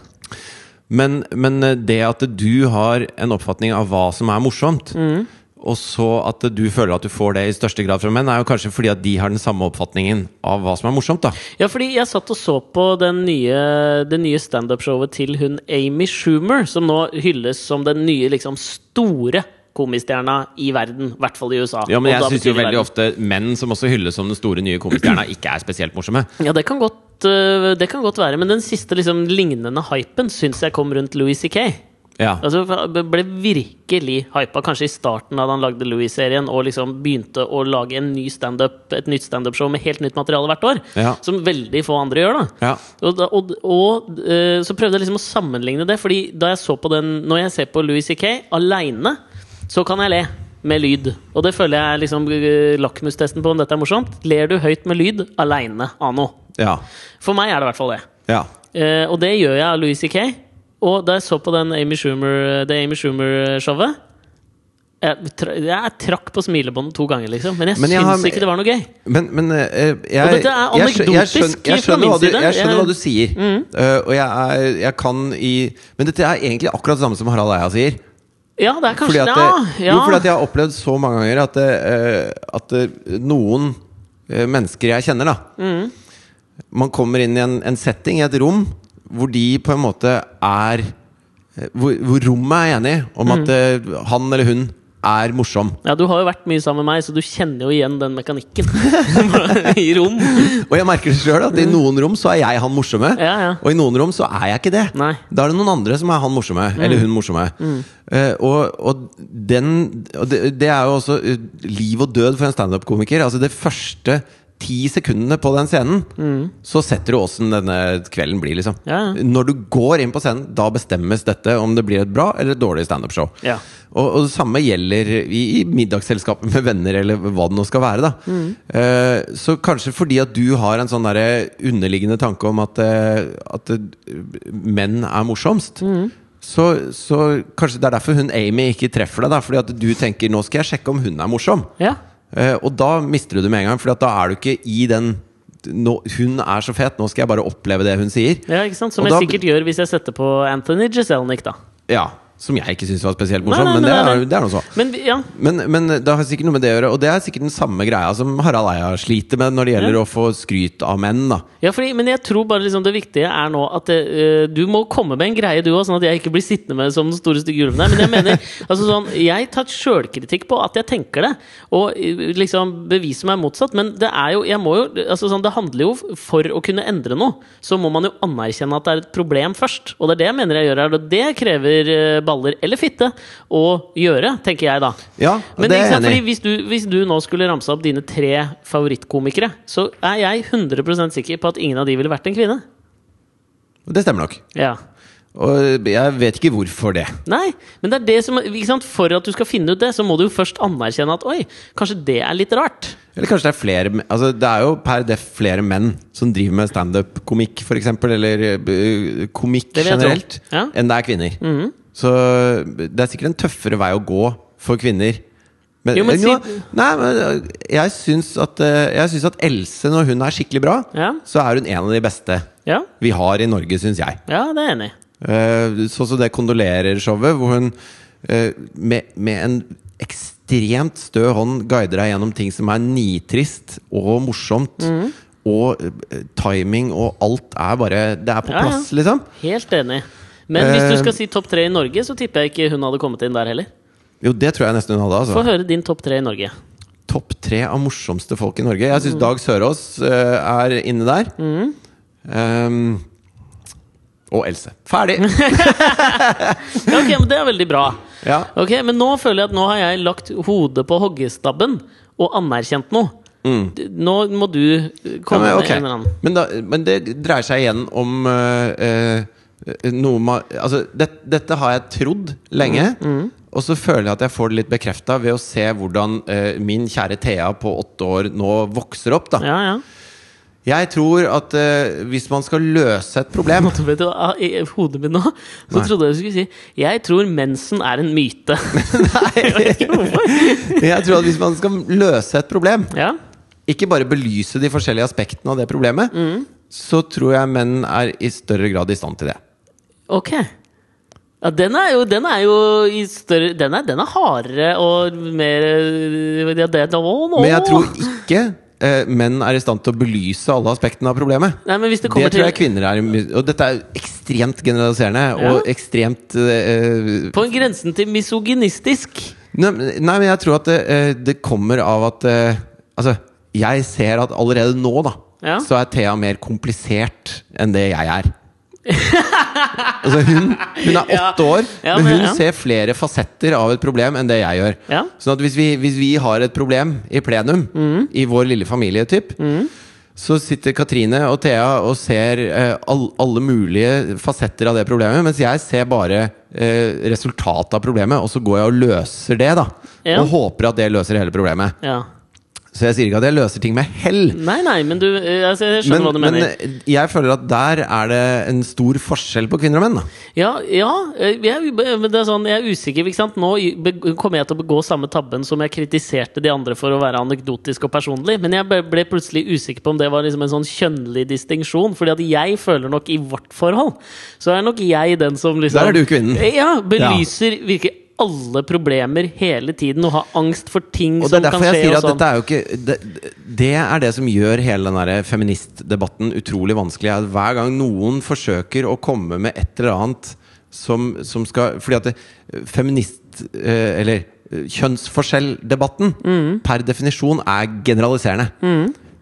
B: Men, men eh, det at du har en oppfatning av hva som er morsomt,
A: Mm.
B: og så at du føler at du får det i største grad fra menn, er jo kanskje fordi at de har den samme oppfatningen av hva som er morsomt, da.
A: Ja, fordi jeg satt og så på den nye, det nye standup-showet til hun Amy Schumer, som nå hylles som den nye liksom, store komistjerna i verden. I hvert fall i USA.
B: Ja, men
A: og
B: jeg
A: da
B: syns
A: betyr
B: jo
A: det verden.
B: veldig ofte menn som også hylles som den store nye komistjerna, ikke er spesielt morsomme.
A: Ja, det kan eh, godt, øh, det kan godt være. Men den siste liksom, lignende hypen syns jeg kom rundt Louis C.K.
B: Ja.
A: Altså, for han ble virkelig hypa, kanskje i starten da han lagde Louis-serien, og liksom begynte å lage en ny stand et nytt standup-show med helt nytt materiale hvert år.
B: Ja.
A: Som veldig få andre gjør, da.
B: Ja.
A: Og, da- og, og eh, så prøvde jeg liksom å sammenligne det, Fordi da jeg så på den når jeg ser på Louis C.K. aleine, så kan jeg le. Med lyd. Og det føler jeg er liksom eh, lakmustesten på om dette er morsomt. Ler du høyt med lyd aleine, anno?
B: Ja.
A: For meg er det i hvert fall det.
B: ja.
A: Eh, og det gjør jeg av Louis C.K. Og da jeg så på den Amy Schumer, det Amy Schumer-showet jeg, tra jeg trakk på smilebåndet to ganger, liksom. Men jeg
B: Men jeg
A: syns
B: har-
A: ikke det var noe gøy.
B: Men, men eh, jeg,
A: Og dette er
B: jeg skjø- jeg
A: anekdotisk
B: skjønn- jeg
A: fra
B: skjønner
A: min
B: hva du-
A: side.
B: Jeg skjønner
A: Jeg-
B: hva du sier.
A: Mm.
B: Eh, og jeg, er, jeg kan i Men dette er egentlig akkurat det samme som Harald Eia sier.
A: Ja, det er kanskje
B: at
A: det,
B: det-
A: ja.
B: Jo, fordi at jeg har opplevd så mange ganger at, det, eh, at det, noen eh, mennesker jeg kjenner, da
A: Mm.
B: Man kommer inn i en, en setting, i et rom, hvor de på en måte er eh, Hvor, hvor rommet er enig om
A: Mm.
B: at eh, han eller hun er morsom.
A: ja, du har jo vært mye sammen med meg, så du kjenner jo igjen den mekanikken i rom.
B: Og jeg merker det sjøl, at i noen rom så er jeg han morsomme.
A: Ja, ja.
B: Og i noen rom så er jeg ikke det.
A: Nei. Mm.
B: Da er det noen andre som er han morsomme, eller hun morsomme. Eh, og og den, og det, det er jo også eh, liv og død for en standup-komiker. Altså det første ti sekundene på den scenen, så setter du åssen denne kvelden blir, liksom.
A: Mm. Ja, ja.
B: Når du går inn på scenen, da bestemmes dette om det blir et bra eller et dårlig standup-show.
A: Ja.
B: Og, og det samme gjelder i, i middagsselskapet med venner, eller hva det nå skal være. Da. Eh, så kanskje fordi at du har en sånn derre underliggende tanke om at, eh, at eh, menn er morsomst. Så, så kanskje det er derfor hun Amy ikke treffer deg. Da, fordi at du tenker 'nå skal jeg sjekke om hun er morsom'.
A: Ja.
B: Eh, og da mister du det med en gang, for da er du ikke i den nå, 'hun er så fet, nå skal jeg bare oppleve det hun sier'.
A: ja, ikke sant? Som
B: Og
A: jeg
B: da-
A: sikkert gjør hvis jeg setter på Anthony Jeselnik, da.
B: Ja, Som jeg ikke syns var spesielt
A: Nei,
B: morsom,
A: nei,
B: men det
A: nei, nei,
B: er,
A: nei.
B: det er noe så.
A: Men ja,
B: Men, men det har sikkert noe med det å gjøre, og det er sikkert den samme greia som Harald Eia sliter med når det gjelder
A: Ja.
B: å få skryt av menn. da
A: Ja, fordi, men jeg tror bare liksom det viktige er nå at det, eh, du må komme med en greie, du òg, sånn at jeg ikke blir sittende med det som den store stygge ulven her. Men jeg mener, altså sånn, jeg tar sjølkritikk på at jeg tenker det, og eh, liksom beviser meg motsatt. Men det er jo, jeg må jo altså sånn, det handler jo for å kunne endre noe, så må man jo anerkjenne at det er et problem først. Og det er det jeg mener jeg gjør her, og det krever eh, baller eller fitte å gjøre, tenker jeg da.
B: Ja, og
A: Men
B: det
A: ikke
B: er
A: sant, fordi
B: jeg enig i.
A: hvis, du, hvis du nå skulle ramse opp dine tre favorittkomikere, så er jeg 100 sikker på at ingen av de ville vært en kvinne.
B: Og Det stemmer nok.
A: Ja.
B: Og jeg vet ikke hvorfor det.
A: Nei, men det er det som ikke sant? For at du skal finne ut det, så må du jo først anerkjenne at oi, kanskje det er litt rart.
B: Eller kanskje det er flere men- Altså Det er jo per def flere menn som driver med standup-komikk, for eksempel eller eh, komikk
A: Det vil jeg tro.
B: generelt,
A: Ja. Mhm.
B: enn det er kvinner. Så det er sikkert en tøffere vei å gå for kvinner. Men,
A: Jo, men
B: jo,
A: si-
B: nei, men eh, jeg syns at, eh, jeg syns at Else, når hun er skikkelig bra,
A: Ja.
B: så er hun en av de beste
A: Ja,
B: vi har i Norge, syns jeg.
A: ja det er jeg enig i.
B: Eh, Sånn som det kondolerer-showet, hvor hun eh, med, med en ekstremt stø hånd guider deg gjennom ting som er nitrist og morsomt.
A: Mm.
B: Og eh, timing og alt er bare Det er på
A: Ja, ja.
B: plass, liksom.
A: Helt enig. Men hvis du
B: Eh,
A: skal si topp tre i Norge, så tipper jeg ikke hun hadde kommet inn der heller.
B: Jo, det tror jeg nesten hun hadde. altså
A: Få høre din topp tre i Norge.
B: Topp tre av morsomste folk i Norge. Jeg syns
A: Mm.
B: Dag Sørås eh, er inne der. Ehm, og Else. Ferdig!
A: Ja, ok, men Det er veldig bra.
B: ja.
A: Ok, Men nå føler jeg at nå har jeg lagt hodet på hoggestabben og anerkjent noe. D- Nå må du eh,
B: Mm. Ja,
A: komme
B: men,
A: med en eller
B: ok.
A: annen.
B: men, da, men det dreier seg igjen om eh, eh, noe ma altså, det, Dette har jeg trodd lenge,
A: Mm,
B: og så føler jeg at jeg får det litt bekrefta ved å se hvordan eh, min kjære Thea på åtte år nå vokser opp. Da.
A: Ja, ja.
B: Jeg tror at eh, hvis man skal løse et problem
A: Måtte, vet du, hva, i i hodet mitt nå Så
B: Nei.
A: trodde jeg du skulle si Jeg tror mensen er en myte.
B: Jeg tror at hvis man skal løse et problem,
A: ja.
B: ikke bare belyse de forskjellige aspektene av det problemet,
A: Mm.
B: så tror jeg menn er i større grad i stand til det.
A: Ok. Ja, den er jo, den er jo i større Den er, den er hardere og mer eh, ja, det, da, å, nå.
B: Men jeg tror ikke eh, menn er i stand til å belyse alle aspektene av problemet.
A: Nei, men hvis det
B: Det
A: kommer
B: tror jeg
A: til
B: kvinner er i my- Og dette er ekstremt generaliserende og
A: Ja.
B: ekstremt eh,
A: På grensen til misogynistisk.
B: nei, men- nei, men jeg tror at det, eh, det kommer av at eh, Altså, jeg ser at allerede nå, da,
A: Ja.
B: så er Thea mer komplisert enn det jeg er. Altså hun, hun er
A: Ja.
B: åtte år,
A: Ja,
B: men,
A: men-
B: hun
A: ja.
B: ser flere fasetter av et problem enn det jeg gjør.
A: Ja.
B: Sånn at hvis vi, hvis vi har et problem i plenum,
A: Mm.
B: i vår lille familie, typ, så sitter Katrine og Thea og ser eh, all, alle mulige fasetter av det problemet, mens jeg ser bare eh, resultatet av problemet, og så går jeg og løser det, da.
A: Ja.
B: Og håper at det løser hele problemet.
A: Ja.
B: Så jeg sier ikke at jeg løser ting med hell.
A: Nei, nei, men du eh, altså, Jeg skjønner
B: Men,
A: hva du
B: men
A: mener.
B: eh, jeg føler at der er det en stor forskjell på kvinner og menn. Da.
A: Ja, ja eh, jeg, men det er sånn, jeg er usikker. Ikke sant? Nå i- be- kommer jeg til å begå samme tabben som jeg kritiserte de andre for å være anekdotisk og personlig. Men jeg ble- ble plutselig usikker på om det var liksom en sånn kjønnlig distinksjon. Fordi at jeg føler nok i vårt forhold, så er nok jeg den som liksom
B: Der er du kvinnen.
A: Ja, belyser virkelig alle problemer hele tiden og har angst for ting
B: Og det
A: som
B: er
A: kan
B: derfor jeg
A: skje.
B: sier
A: Og
B: at
A: sånn.
B: dette er jo ikke det, det er det som gjør hele den der feministdebatten utrolig vanskelig. Er at hver gang noen forsøker å komme med et eller annet som, som skal Fordi at det, feminist... eh, Eller eh, kjønnsforskjelldebatten
A: Mm.
B: per definisjon er generaliserende.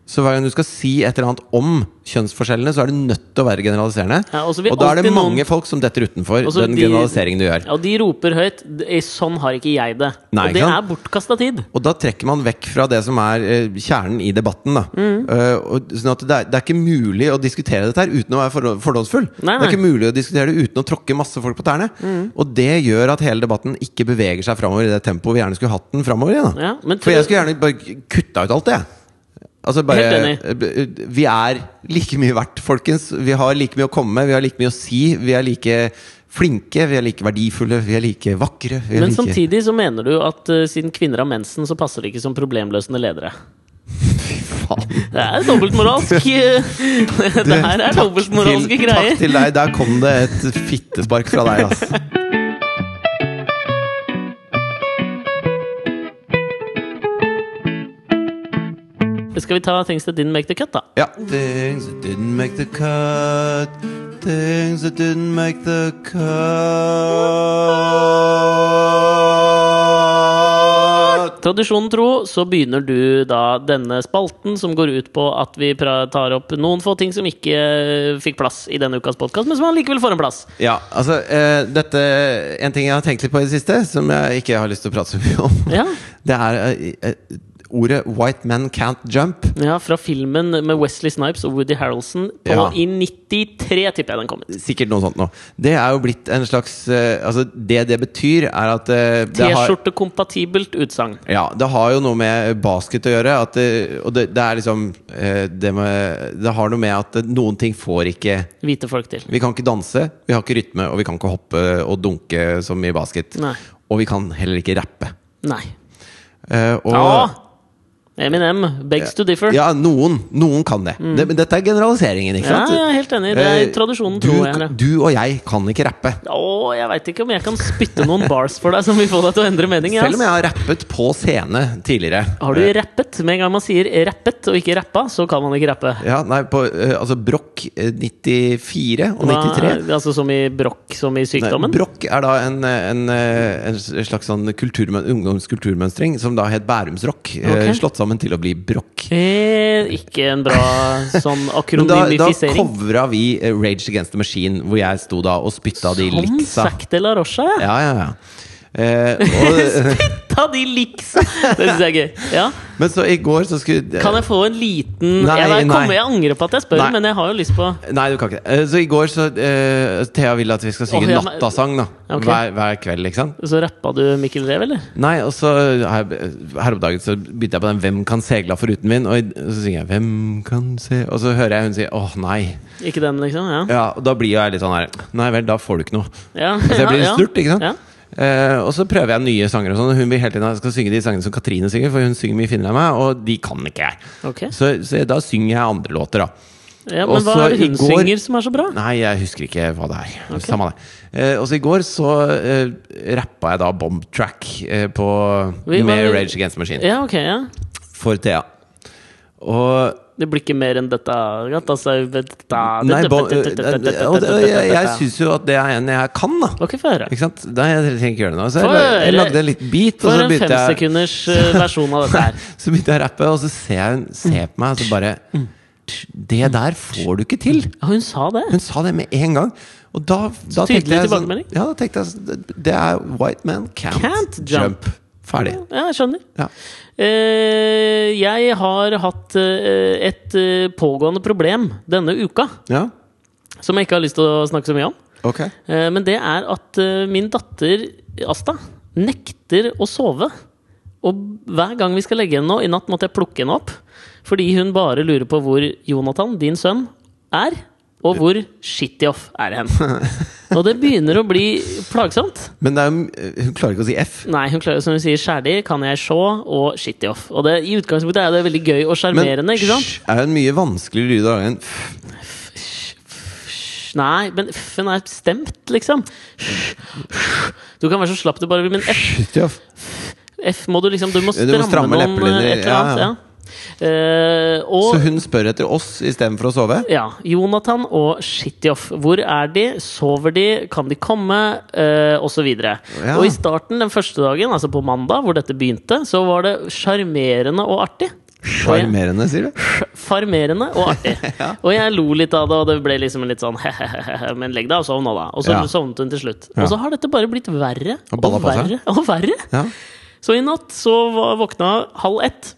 B: Så hver gang du skal si et eller annet om kjønnsforskjellene, så er det nødt til å være generaliserende.
A: Ja, og så vil
B: og da er det
A: alltid noen-
B: mange folk som detter utenfor
A: Og så
B: den
A: de-
B: generaliseringen du gjør.
A: Ja, og de roper høyt. "Eh, Sånn har ikke jeg det.
B: Nei,
A: og det
B: ikke
A: er
B: sant?
A: bortkasta tid.
B: Og da trekker man vekk fra det som er eh, kjernen i debatten. Da.
A: Mm.
B: Eh, og, sånn at det er, det er ikke mulig å diskutere dette her uten å være fordo- fordomsfull.
A: Nei, Mm.
B: Det er
A: nei.
B: ikke mulig å diskutere det uten å tråkke masse folk på tærne. Og det gjør at hele debatten ikke beveger seg framover i det tempoet vi gjerne skulle hatt den framover i. Da.
A: Ja, men
B: For
A: tror-
B: jeg skulle gjerne bare kutta ut alt det. jeg. Altså bare,
A: Helt
B: eh, vi er like mye verdt, folkens. Vi har like mye å komme med, vi har like mye å si. Vi er like flinke, vi er like verdifulle, vi er like vakre. Vi er
A: Men
B: like
A: samtidig så mener du at eh, siden kvinner har mensen, så passer de ikke som problemløsende ledere.
B: Faen.
A: Det er dobbeltmoralsk! eh, det her er dobbeltmoralske
B: til,
A: greier.
B: Takk til deg. Der kom det et fittespark fra deg, ass.
A: Skal vi ta Things That Didn't Make The Cut, da?
B: Ja. Things that didn't make the cut. Things that didn't make the cut.
A: Tradisjonen tro så begynner du da denne spalten som går ut på at vi pra- tar opp noen få ting som ikke eh, fikk plass i denne ukas podkast, men som allikevel får en plass.
B: Ja, altså eh, dette En ting jeg har tenkt litt på i det siste, som jeg ikke har lyst til å prate så mye om,
A: Ja.
B: det er eh, eh, ordet 'white man can't jump'.
A: Ja, Fra filmen med Wesley Snipes og Woody Harrelson på,
B: Ja.
A: i 93, tipper jeg den kom ut.
B: Sikkert noe sånt nå. Det er jo blitt en slags eh, Altså, det det betyr, er at eh, det har
A: T-skjorte-kompatibelt utsagn.
B: Ja, det har jo noe med basket å gjøre. At det, og det, det er liksom eh, det, med, det har noe med at noen ting får ikke
A: Hvite folk til.
B: Vi kan ikke danse, vi har ikke rytme, og vi kan ikke hoppe og dunke som i basket.
A: Nei.
B: Og vi kan heller ikke rappe.
A: Nei.
B: Eh, og,
A: Ja! Eminem, begs to differ.
B: ja, noen, noen kan det. det. Men dette er generaliseringen, ikke
A: Mm. Ja,
B: sant?
A: jeg er helt enig. Det er
B: Eh,
A: tradisjonen,
B: du,
A: tror jeg. her, ja.
B: Du og jeg kan ikke rappe.
A: Å, jeg veit ikke om jeg kan spytte noen bars for deg som vil få deg til å endre mening.
B: Selv om
A: ass.
B: jeg har rappet på scene tidligere. Eh,
A: Har du rappet? Med en gang man sier 'rappet' og ikke 'rappa', så kan man ikke rappe.
B: Ja, nei, på eh, altså Broch eh, 94 og
A: Hva-
B: 93.
A: altså som i brokk, som i
B: Nei,
A: sykdommen?
B: brokk er da en, en, en slags sånn kultur, ungdomskulturmønstring som da het bærumsrock. eh,
A: Ok.
B: Slått sammen til å bli brokk.
A: eh, ikke en bra sånn
B: Men da, da
A: akronymifisering.
B: covra vi eh, Rage Against the Machine, hvor jeg sto da og spytta de
A: Som
B: liksa.
A: Zac de la Rocha, ja.
B: Ja, ja, ja. Eh, og,
A: Ta de liksa! Det syns jeg er gøy. Ja.
B: men så i går så skulle eh,
A: Kan jeg få en liten
B: Nei,
A: jeg, vet-
B: nei.
A: kommer- jeg angrer på at jeg spør,
B: Nei.
A: men jeg har jo lyst på
B: Nei, du kan ikke det. Eh, Så i går så eh, Thea vil at vi skal
A: Åh,
B: synge
A: ja, men-
B: nattasang da
A: Ok.
B: hver, hver kveld, ikke sant?
A: Så rappa du Mikkel Rev, eller?
B: Nei, og så eh, her, her om dagen så begynte jeg på den 'Hvem kan segla foruten min', og, i- og så synger jeg 'Hvem kan se' Og så hører jeg hun si 'Åh, nei'.
A: Ikke den, liksom? Ja.
B: Ja, og da blir jo jeg litt sånn her Nei vel, da får du ikke noe.
A: ja.
B: Så jeg blir litt snurt, ikke sant?
A: Ja.
B: Eh, og så prøver jeg nye sanger og sånn. og Hun vil hele tiden at jeg skal synge de sangene som Katrine synger, for hun synger mye finere enn meg, og de kan ikke jeg.
A: Ok.
B: Så, så da synger jeg andre låter, da.
A: Ja,
B: Og
A: men hva
B: så
A: er det hun
B: i går-
A: synger som er så bra?
B: Nei, jeg husker ikke hva det er. Samme det. Eh, og så i går så eh, rappa jeg da Bomb Track eh, på,
A: Vi var-
B: med Rage Against the Machine
A: Ja, ok, ja.
B: for Thea. Og
A: Det blir ikke mer enn dette. gatt, Altså, dette
B: Nei, bom, eh, og det- og jeg, jeg syns jo at det er en jeg kan, da.
A: Ok, få høre.
B: Ikke sant? Nei, jeg trenger ikke gjøre det nå. Så
A: Få
B: jeg, la- jeg
A: høre.
B: lagde en liten beat, og
A: For
B: så
A: en
B: begynte jeg,
A: femsekunders eh, versjon av dette her.
B: så begynte jeg å rappe, og så ser jeg hun se på meg,
A: Mm.
B: og så bare Det der får du ikke til!
A: Ja, Hun sa det.
B: Hun sa det med en gang. Og da, da
A: tydelig
B: tenkte jeg sånn,
A: tilbakemelding.
B: Ja, da tenkte jeg sånn, det- Det er white man can't,
A: Can't jump.
B: Ferdig.
A: Ja, jeg skjønner.
B: Ja.
A: Eh, jeg har hatt eh, et eh, pågående problem denne uka,
B: ja.
A: som jeg ikke har lyst til å snakke så mye om.
B: Ok.
A: Eh, men det er at eh, min datter Asta nekter å sove. Og hver gang vi skal legge henne nå, i natt måtte jeg plukke henne opp. Fordi hun bare lurer på hvor Jonathan, din sønn, er. Og hvor Shitty-off er hen. Og det begynner å bli plagsomt.
B: Men det er, jo- hun klarer ikke å si F.
A: Nei, hun klarer som hun sier skjærlig, kan jeg sjå, og shitty off. Og det, i utgangspunktet er det veldig gøy og sjarmerende, ikke sant?
B: sj er jo en mye vanskeligere lyd av enn f.
A: Nei, men f-en er stemt, liksom. Du kan være så slapp du bare vil, men f,
B: Ja.
A: f må du liksom Du må
B: Du
A: stramme,
B: må stramme
A: noen
B: leppene
A: eh,
B: dine,
A: et eller annet. Ja,
B: ja, ja.
A: Eh, og
B: Så hun spør etter oss istedenfor å sove?
A: ja, Jonathan og Shitjoff. Hvor er de? Sover de? Kan de komme? Eh, og så videre.
B: Ja.
A: Og i starten den første dagen, altså på mandag, hvor dette begynte, så var det sjarmerende og artig. Og jeg-
B: Sjarmerende, sier du?
A: Farmerende og artig. Og jeg lo litt av det, og det ble liksom litt sånn Men legg deg og sov nå, da. Og så
B: Ja.
A: sovnet hun til slutt.
B: Ja.
A: Og så har dette bare blitt verre
B: Og
A: og
B: balla på seg.
A: verre og verre.
B: Ja.
A: Så i natt så var- våkna halv ett.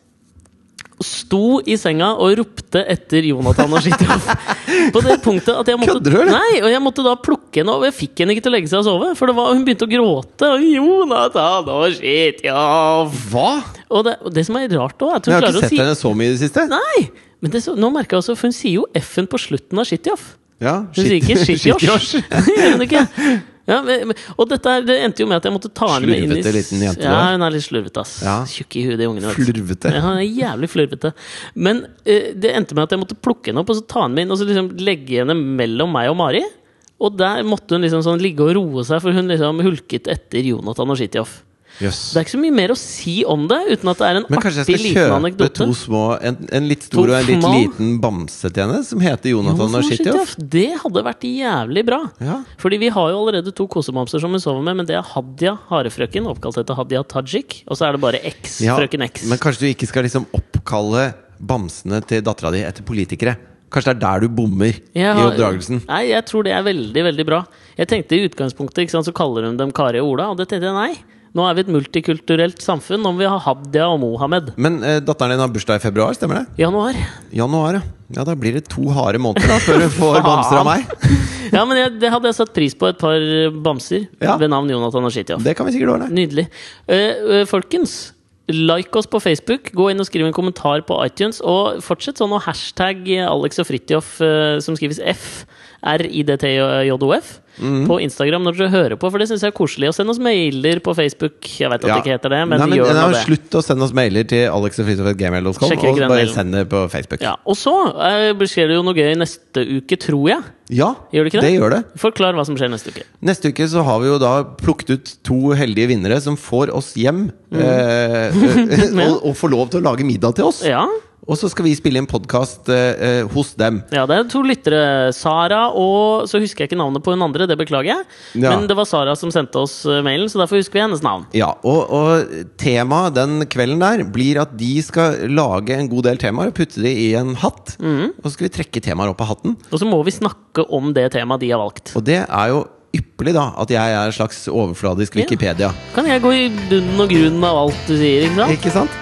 A: og Sto i senga og ropte etter Jonathan og Shitjoff. På det punktet at jeg måtte
B: Kødder du, eller?
A: Nei, og jeg måtte da plukke henne, og jeg fikk henne ikke til å legge seg og sove. For det var, hun begynte å gråte. Og Jonathan og Shitjoff!
B: Hva?!
A: Og det, og det som er rart òg, er at
B: Jeg
A: hun
B: har
A: klarer
B: ikke
A: å
B: sett
A: si
B: henne så mye i det siste.
A: Nei! Men det, er så- nå merker jeg også, for hun sier jo F-en på slutten av Shitjoff.
B: Ja,
A: Hun sier ikke Shitjosh.
B: Shitjosh.
A: Gjør hun ikke? Ja, men, men- og dette er, det endte jo med at jeg måtte ta henne med inn i
B: Slurvete liten jente, da.
A: Ja, hun er litt slurvete, ass.
B: Ja.
A: Tjukk i huet, de ungene. vet du. Ja,
B: Flurvete.
A: hun er jævlig flurvete. Men eh, det endte med at jeg måtte plukke henne opp og så ta henne med inn og så liksom legge henne mellom meg og Mari. Og der måtte hun liksom sånn ligge og roe seg, for hun liksom hulket etter Jonathan og Shitjoff.
B: Jøss.
A: Det er ikke så mye mer å si om det, uten at det er en
B: Men kanskje
A: artig
B: jeg skal
A: liten
B: kjøpe
A: anekdote.
B: to små En, en litt stor
A: To
B: og en litt
A: små?
B: liten bamse til henne, som heter Jonathan
A: Jonathan
B: og Shitjoff.
A: Shitjoff, Det hadde vært jævlig bra.
B: Ja.
A: Fordi vi har jo allerede to kosebamser som hun sover med, men det er Hadia Harefrøken, oppkalt etter Hadia Tajik. Og så er det bare X,
B: Ja,
A: frøken X.
B: Men kanskje du ikke skal liksom oppkalle bamsene til dattera di etter politikere? Kanskje det er der du bommer
A: Jeg
B: i
A: har-
B: oppdragelsen?
A: Nei, jeg tror det er veldig, veldig bra. Jeg tenkte i utgangspunktet ikke sant, så kaller hun dem Kari og Ola, og det tenkte jeg nei. Nå er vi et multikulturelt samfunn, om vi har Hadia og Mohammed.
B: Men eh, datteren din har bursdag i februar, stemmer det?
A: Januar.
B: Januar, ja. Ja, Da blir det to harde måneder da før du får
A: Faen.
B: bamser av meg.
A: Ja, men jeg, det hadde jeg satt pris på. Et par bamser
B: Ja.
A: ved navn Jonathan og Shitjoff.
B: Det kan vi sikkert ordne.
A: Nydelig. Eh, eh, folkens, like oss på Facebook. Gå inn og skriv en kommentar på iTunes. Og fortsett sånn å hashtag Alex og Fridtjof, eh, som skrives F, R-I-D-T-J-O-F.
B: Mhm.
A: På Instagram når dere hører på, for det syns jeg er koselig. Og send oss mailer på Facebook. Jeg vet at det ikke heter det, men,
B: Nei, men
A: gjør
B: nei,
A: nå
B: men
A: det.
B: Slutt å sende oss mailer til alexogfritofetgmail.com,
A: Sjekker ikke
B: og
A: den
B: bare
A: mailen.
B: send det på Facebook.
A: Ja, og så eh, skjer det jo noe gøy neste uke, tror jeg.
B: Ja,
A: Gjør det ikke det?
B: det gjør det.
A: Forklar hva som skjer neste uke.
B: Neste uke så har vi jo da plukket ut to heldige vinnere som får oss hjem.
A: Mm.
B: Eh, eh, og, og får lov til å lage middag til oss.
A: Ja,
B: Og så skal vi spille inn podkast eh, eh, hos dem.
A: ja det er to lyttere. Sara og Så husker jeg ikke navnet på hun andre, det beklager jeg.
B: Ja.
A: Men det var Sara som sendte oss eh, mailen, så derfor husker vi hennes navn.
B: Ja, og, og temaet den kvelden der blir at de skal lage en god del temaer og putte de i en hatt.
A: Mm.
B: Og så skal vi trekke temaer opp av hatten.
A: Og så må vi snakke om det temaet de har valgt.
B: Og det er jo ypperlig, da. At jeg er en slags overfladisk
A: Ja.
B: Wikipedia.
A: Kan jeg gå i bunnen og grunnen av alt du sier, ikke sant?
B: Ikke sant?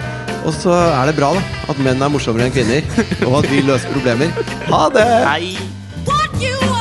B: Og så er det bra da at menn er morsommere enn kvinner. Og at vi løser problemer. Ha det!
A: Nei.
C: What you